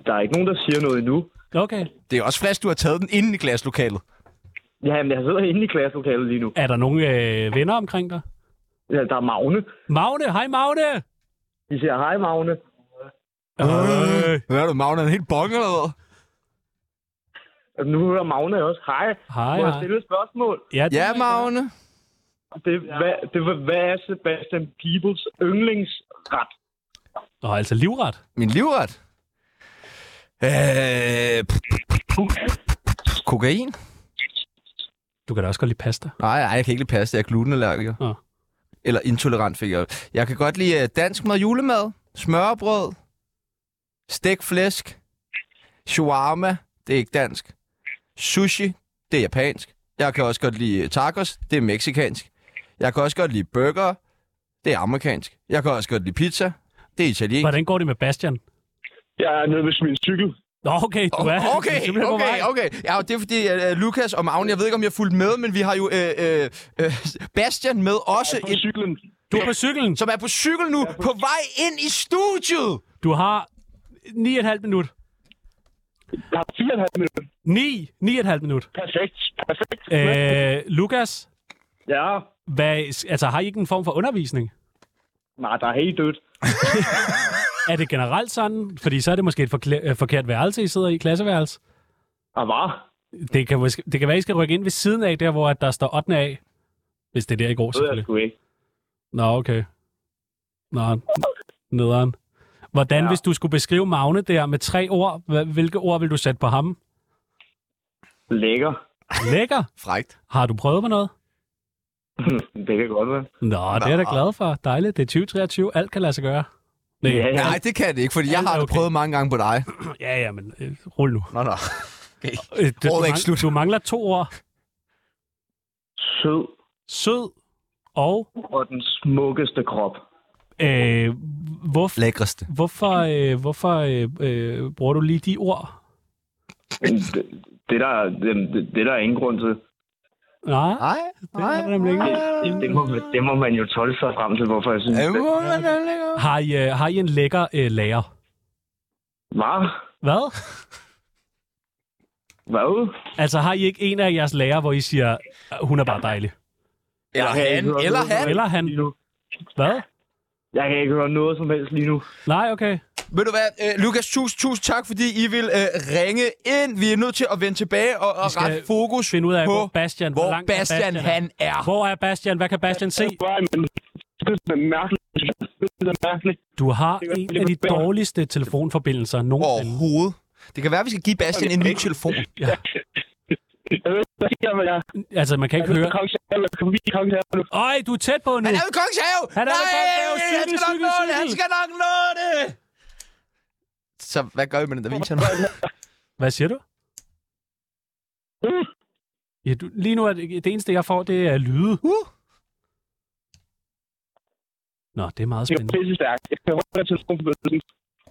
S8: der er ikke nogen, der siger noget endnu.
S2: Okay.
S1: Det er også flash, du har taget den inden i klasselokalet.
S8: Jamen, jeg sidder inde i klasselokalet lige nu.
S2: Er der nogle øh, venner omkring dig?
S8: Ja, der er Magne.
S2: Magne, hej Magne!
S8: De siger, hej Magne.
S2: Øh,
S1: Hvad er du, Magne? Er helt bong eller hvad?
S8: Og Nu hører Magne også, hej.
S2: hej,
S8: Må jeg
S2: hej.
S8: stille et spørgsmål?
S2: Ja, det
S1: Ja,
S2: er rigtigt.
S1: Magne.
S8: Det, hvad, det, var- hvad er Sebastian Peebles yndlingsret?
S2: Nå, altså livret.
S1: Min livret. Øh, pff, pff, pff, pff. kokain?
S2: Du kan da også godt lide pasta.
S1: Nej, nej, jeg kan ikke lide pasta. Jeg er glutenallergiker.
S2: Nå.
S1: Eller intolerant fik jeg. Jeg kan godt lide øh, dansk mad, julemad, smørbrød, stegt flæsk, shawarma, det er ikke dansk. Sushi, det er japansk. Jeg kan også godt lide øh, tacos, det er meksikansk. Jeg kan også godt lide burger, det er amerikansk. Jeg kan også godt lide pizza, det er italiensk.
S2: Hvordan går det med Bastian?
S9: Jeg er nede ved min cykel.
S2: Nå, okay, du er, du er
S1: Okay,
S2: simpelthen på vej.
S1: okay, okay. Ja, og det er fordi, uh, Lukas og Magne, jeg ved ikke, om jeg fulgte med, men vi har jo uh, uh, Bastian med også,
S9: På
S1: en,
S9: cyklen.
S2: Du er på cyklen.
S1: som er på cykel nu, på vej ind i studiet.
S2: Du har 9,5 minut.
S9: Jeg har 4,5 minutter.
S2: 9, 9,5 minut.
S9: Perfekt. Perfekt.
S2: Øh, Lukas,
S8: Ja,
S2: hvad, altså, har I ikke en form for undervisning?
S8: nej, der er helt dødt.
S2: Er det generelt sådan? Fordi så er det måske et forkla- øh, forkert værelse, I sidder i, klasseværelse.
S8: Ah, hvad?
S2: Det kan, måske, det kan være, I skal rykke ind ved siden af, der hvor at der står 8. af. Hvis det er der i går,
S8: Det ved jeg
S2: selvfølgelig.
S8: sgu ikke.
S2: Nå, okay. Nå, n- nederen. Hvordan, ja. hvis du skulle beskrive Magne der med tre ord, hva- hvilke ord vil du sætte på ham?
S8: Lækker.
S2: Lækker.
S1: Frægt.
S2: Har du prøvet med noget?
S8: det kan godt være.
S2: Nå, det er jeg da glad for. Dejligt. Det er 2023. Alt kan lade sig gøre. Nej.
S8: Ja, ja.
S1: Nej, det kan det ikke, fordi jeg
S2: Ja,
S1: har okay.
S2: okay.
S1: prøvet mange gange på dig.
S2: Ja, ja, men øh, rul nu.
S1: Nå, nå.
S2: Øh, det, du,
S1: Året er ikke
S2: mang-
S1: slut.
S2: du mangler to ord.
S8: Sød
S2: Sød og...
S8: og den smukkeste krop.
S2: Øh, hvor,
S1: Lækreste.
S2: hvorfor øh, hvorfor øh, øh, bruger du lige de ord?
S8: Det, det, der, det, det er der ingen grund til.
S2: Nej,
S1: Nej,
S2: det er der nemlig ikke.
S8: Det, det, må, det må man jo tolke sig frem til, hvorfor jeg synes
S1: Ja,
S8: det.
S1: må man nemlig godt.
S2: Har I, øh, har I en lækker øh, lærer?
S8: Hvad?
S2: Hvad?
S8: Hvad?
S2: Altså, har I ikke en af jeres lærer, hvor I siger, "Øh, hun er bare dejlig?
S1: Eller han, eller han.
S2: Eller han?
S8: Lige nu.
S2: Hvad?
S8: Jeg kan ikke høre noget som helst lige nu.
S2: Nej, okay.
S1: Ved du hvad, øh, Lukas, tusind, tusind tak, fordi I vil øh, ringe ind. Vi er nødt til at vende tilbage og, og
S2: skal
S1: rette fokus
S2: Find ud af,
S1: på,
S2: hvor Bastian,
S1: hvor
S2: langt er
S1: Bastian, Bastian han er.
S2: Hvor er Bastian? Hvad kan Bastian se?
S9: Nej, men det er mærkeligt. Det er mærkeligt.
S2: Du har
S9: Det er
S2: en
S9: lidt
S2: af de
S9: bedre.
S2: dårligste telefonforbindelser nogensinde.
S1: Overhovedet. Det kan være, vi skal give Bastian en ny telefon.
S9: Jeg ved ikke, hvad der sker, men jeg
S2: Altså, man kan ikke høre.
S9: er kongens herre. Jeg kan blive kongens herre nu.
S2: Øj, du er tæt på nu.
S1: Han er ved Kongens Have!
S2: Han er ved
S1: Nej,
S2: Kongens Have. Cykel,
S1: han skal nok
S2: cykel,
S1: nå det!
S2: cykel.
S1: Han skal nok nå det! Så hvad gør vi med den der video nu?
S2: Hvad siger du?
S9: Uh.
S2: Ja, du, lige nu er det, det eneste, jeg får, det er lyde.
S1: Uh.
S2: Nå, det er meget
S9: Det er
S2: spændende.
S9: pisse stærkt. Jeg kan høre, at telefonforbindelsen.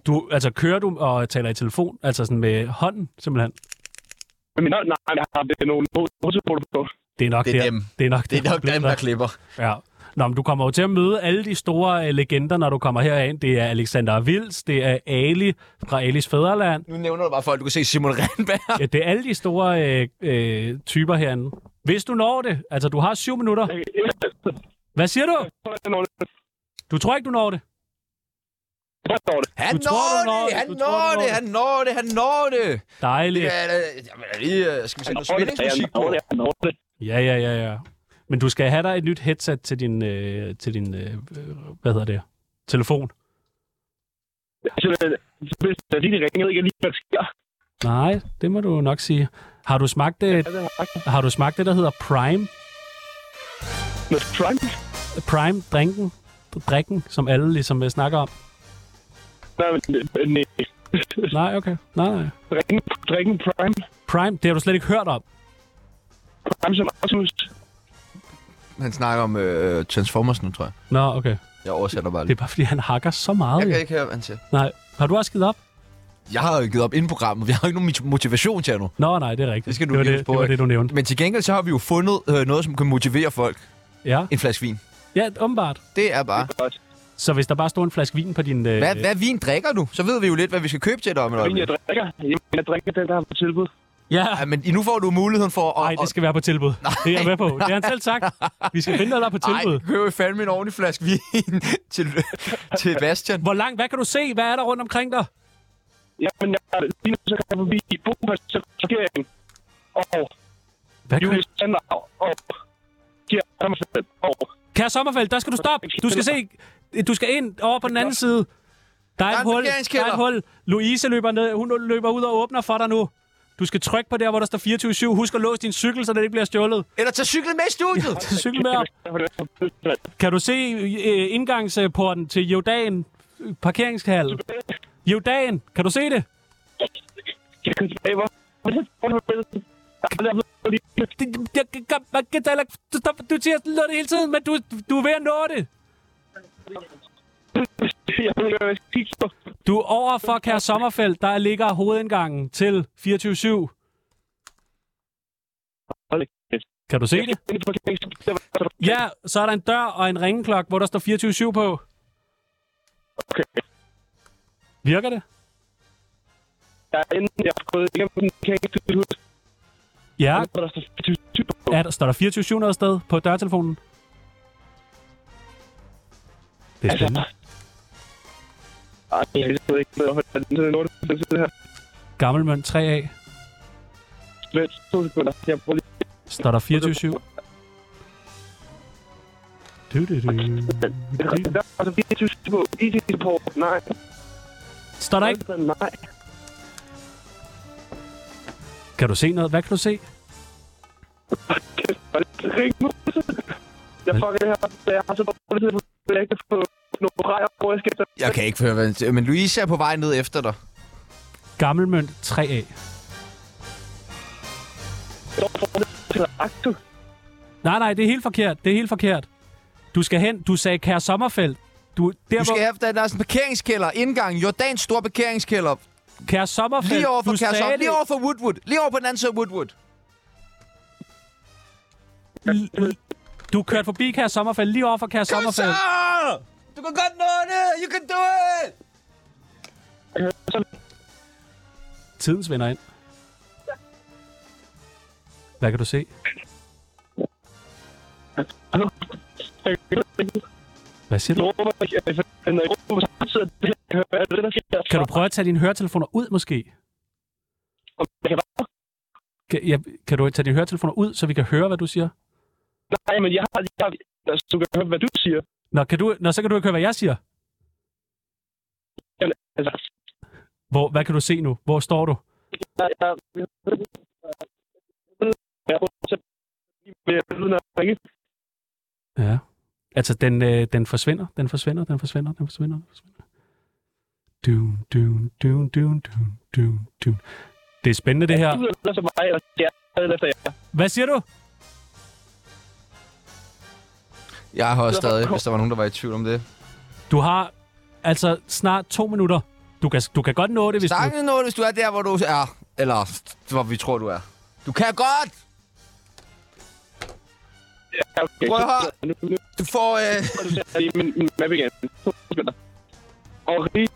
S2: Du, altså, kører du og taler i telefon? Altså sådan med hånden, simpelthen?
S9: Men min hånd, nej, jeg har det er nogle hovedtelefoner på.
S2: Det er nok
S1: Det er
S2: der.
S1: dem.
S2: Det er nok,
S1: Det er nok dem,
S2: problemet
S1: der klipper.
S2: Ja. Nå, men du kommer jo til at møde alle de store øh, legender, når du kommer herind. Det er Alexander Vils, det er Ali fra Alis Fæderland.
S1: Nu nævner du bare folk. Du kan se Simon Renberg.
S2: Ja, det er alle de store øh, øh, typer herinde. Hvis du når det, altså du har syv minutter. Hvad siger du?
S9: Jeg tror, jeg når det.
S2: Du tror ikke, du når det?
S9: Jeg tror det.
S1: Han
S2: Du tror, du når
S1: når det,
S2: det.
S1: han
S2: Du tror,
S1: når
S2: du
S1: det,
S2: når
S1: han når det, han når det.
S2: Dejligt.
S1: Ja, da, jamen, lige, øh, skal vi sætte noget
S9: Jeg tror det. Jeg
S1: spændingsmusik
S9: tror
S1: på?
S9: det. Jeg tror det.
S2: Ja, ja, ja, ja. Men du skal have dig et nyt headset til din, øh, til din øh, øh, hvad hedder det, telefon.
S9: Så øh, hvis der lige ringer, jeg ved ikke lige, hvad der sker.
S2: Nej, det må du nok sige. Har du smagt det,
S9: det er
S2: har du smagt det der hedder Prime?
S9: Med Trump?
S2: Prime drinken, drikken, som alle ligesom øh, snakker om.
S9: Nej, men, øh, nej.
S2: Nej, okay. Nej, nej.
S9: Drikken, drikken Prime.
S2: Prime, det har du slet ikke hørt om.
S9: Prime som Artus.
S1: Han snakker om øh, Transformers nu, tror jeg.
S2: Nå, okay.
S1: Jeg oversætter bare
S2: Det
S1: lige.
S2: er bare, fordi han hakker så meget.
S1: Jeg
S2: jo.
S1: kan ikke høre, hvad han siger.
S2: Nej. Har du også givet op?
S1: Jeg har jo givet op inden programmet. Vi har jo ikke nogen motivation til nu.
S2: Nå, nej, det er rigtigt.
S1: Det skal du
S2: det, var
S1: lige
S2: det,
S1: huske på,
S2: det, var
S1: ikke?
S2: det, du nævnte.
S1: Men til gengæld så har vi jo fundet øh, noget, som kan motivere folk.
S2: Ja,
S1: En flaske vin.
S2: ja åbenbart.
S1: Det er bare...
S2: Så hvis der bare står en flaske vin på din... Øh,
S1: Hvad, hvad vin drikker du? Så ved vi jo lidt, hvad vi skal købe til dig om et
S9: Men
S1: øjeblik.
S9: jeg drikker. Jamen, jeg drikker den, der har på tilbud.
S2: Ja,
S1: Ja, men nu får du muligheden for at...
S2: nej, det skal være på tilbud. Det er jeg med på. Det har han selv sagt. Vi skal finde noget, der er på tilbud.
S1: Ej, køb fandme en ordentlig flaske vin til, til Bastian.
S2: Hvor langt? Hvad kan du se? Hvad er der rundt omkring dig?
S9: Jamen, jeg, lige nu så kan jeg forbi Bopers regering og
S2: Hvad kan,
S9: Julie Sandau og Kjær Sommerfeldt og
S2: Kære Sommerfeld, der skal du stoppe. Du skal se... Du skal ind over på den anden side. Der er
S1: Der er
S2: et
S1: en
S2: hul. Der er
S1: parkeringskælder.
S2: et hul. Louise løber, ned. Hun løber ud og åbner for dig nu. Du skal trykke på der, hvor der står 24-7. Husk at låse din cykel, så den ikke bliver stjålet.
S1: Eller tag cyklen med i studiet!
S2: Til cykel med op. Kan du se øh, indgangsporten til Jordan øh, parkeringshal? Jordan, kan du se det?
S9: Jeg kan tilbage, hvor... Hvor er det? Der er lige...
S2: Det- det- Jeg kan- kan- man kan tale- du- du- Du siger sådan noget hele tiden, men du, du er ved at nå det.
S9: Jeg ved ikke, hvad jeg skal kigge på.
S2: Du er over for Kære Sommerfelt, der ligger hovedindgangen til 24-7.
S9: Hold da kæft.
S2: Kan du se det?
S9: Det er parkering, så der var-
S2: Ja, så er der en dør og en ringeklok, hvor der står 24-7 på.
S9: Okay.
S2: Virker det?
S9: Jeg er inde, jeg har gået igennem den parkeringshus.
S2: Ja.
S9: Og der står 24 på.
S2: Er der, står der 24-7 noget sted på dørtelefonen? Det
S9: Altså-
S2: er spændende.
S9: Ej, jeg ved ikke, hvorfor der er den sådan lort. Den sidder her.
S2: Gammelmønt 3A.
S9: Vent, to sekunder. Jeg prøver lige.
S2: Står der 24-7? Du, du, du.
S9: Der er altså 24 på. IT-support. Nej. Altså,
S2: Står der ikke?
S9: Nej.
S2: Kan du se noget? Hvad kan du se?
S9: Kæft, hvor er det rigtig muligt. Jeg fucker det her. Jeg har så dårlig tid, at jeg ikke kan få nogle rejer, hvor jeg skal tage.
S1: Jeg kan ikke høre, hvad han siger, men Louise er på vej ned efter dig.
S2: Gammelmønt 3A.
S9: Så får det til at akte.
S2: Nej, nej, det er helt forkert. Det er helt forkert. Du skal hen. Du sagde Kære Sommerfelt. Du, der,
S1: Du
S2: hvor,
S1: skal have, der er sådan en parkeringskælder, indgang, Jordans store parkeringskælder.
S2: Kære Sommerfelt.
S1: Lige over for
S2: du sagde
S1: Kærsson,
S2: det.
S1: lige over for Woodwood, lige over på den anden side af Woodwood.
S2: L- l- Du kørte forbi Kære Sommerfald, lige over for
S1: Kom
S2: Kære
S1: så!
S2: Sommerfald.
S1: Du kan godt nå det! You can do it!
S2: Tiden svinder ind. Hvad kan du se? Hvad siger du?
S9: Altså,
S2: Kan du prøve at tage dine høretelefoner ud, måske? Kan, ja, kan du tage dine høretelefoner ud, så vi kan høre, hvad du siger?
S9: Nej, men jeg har... Jeg har altså, du kan høre, hvad du siger.
S2: Nå, kan du, nå så kan du ikke høre, hvad jeg siger.
S9: Altså,
S2: Hvor, hvad kan du se nu? Hvor står du?
S9: jeg... Jeg, jeg, jeg, jeg, jeg, jeg, jeg
S2: Ja. Altså, den, øh, den forsvinder, den forsvinder, den forsvinder, den forsvinder, den forsvinder. Dun, dun, dun, dun, dun, dun, dun. Det er spændende, det her.
S9: Du er så mig, og jeg er efter jer.
S2: Hvad siger du?
S1: Jeg har også stadig, hvis der var nogen, der var i tvivl om det.
S2: Du har altså snart to minutter. Du kan, du kan godt nå det, hvis du...
S1: Stangen noget, hvis du er der, hvor du er. Eller hvor vi tror, du er. Du kan godt!
S9: Ja, okay.
S1: Prøv at høre.
S9: Nu, nu,
S1: Du får... Øh...
S9: nu, nu, ser jeg lige min, min map igen. To sekunder. Og rig,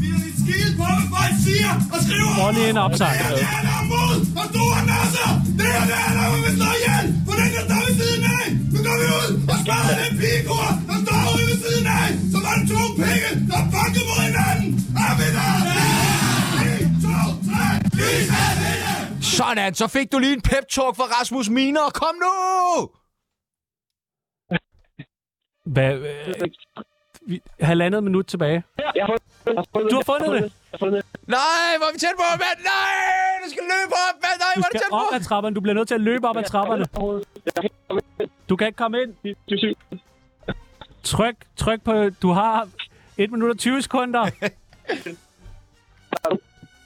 S4: Vi er dit skide på, hvad folk siger og skriver
S2: Prøv lige en
S4: om os.
S2: opsang.
S4: Det her, det er der er mod, og du er nasser. Det her, det er der, hvor vi slår ihjel. For den, der står ved siden af. Nu går vi ud og spørger den pigekor, der står ude ved siden af. Som har to penge, der er banket mod hinanden.
S1: Sådan, så fik du lige en pep-talk fra Rasmus Miner. Kom nu!
S2: Hvad, øh, vi, halvandet minut tilbage.
S5: Jeg har fundet, jeg har fundet,
S2: Du har fundet det.
S5: Jeg har fundet det.
S1: Nej, hvor er vi tæt på, mand! Nej, du skal løbe op, mand! Nej,
S2: Du
S1: hvor er
S2: skal
S1: det tæt på!
S2: op ad trapperne. Du bliver nødt til at løbe op ad trapperne. Du kan ikke komme ind.
S5: Det er sygt.
S2: Tryk, tryk på... Du har 1 minut og 20 sekunder.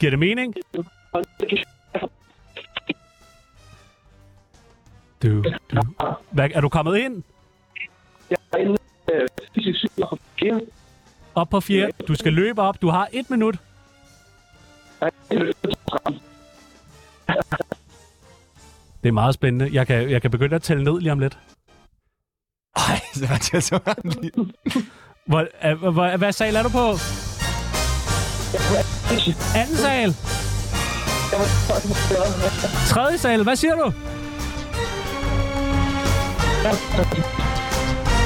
S2: Giver det mening? Du, du. Hvad, er du kommet ind? Op på fjerde. Du skal løbe op. Du har et minut. Det er meget spændende. Jeg kan, jeg kan begynde at tælle ned lige om lidt.
S1: Ej, det var tæt på.
S2: Hvor, er, hvor, hvad sal er du på? Anden sal. Tredje sal. Hvad siger du?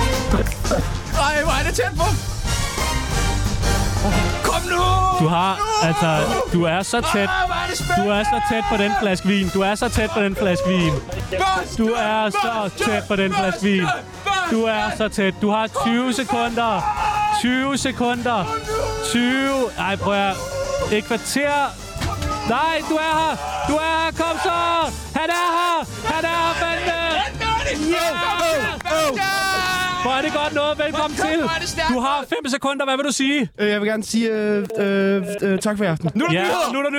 S1: Ej, hvor er det tæt på! Kom nu!
S2: Du har, altså, du er så tæt.
S1: Ej, hvor er det spændende!
S2: Du er så tæt på den flaske vin. Du er så tæt på den flaske vin.
S1: Monster,
S2: Du er så
S1: monster,
S2: tæt på den flaske vin.
S1: monster,
S2: Du er
S1: monster.
S2: så tæt. Du har 20 sekunder. 20 sekunder. 20. Ej, prøv at... Et kvarter. Nej, du er her. Du er her. Kom så. Han er her. Han er her, fandme.
S1: Åh,
S2: Hvor er det godt noget. Velkommen til. Du har 5 sekunder. Hvad vil du sige?
S10: Øh, Jeg vil gerne sige øh, øh, øh, tak for i aften.
S1: Nu er der
S2: Ja,
S1: nyheder!
S2: nu er der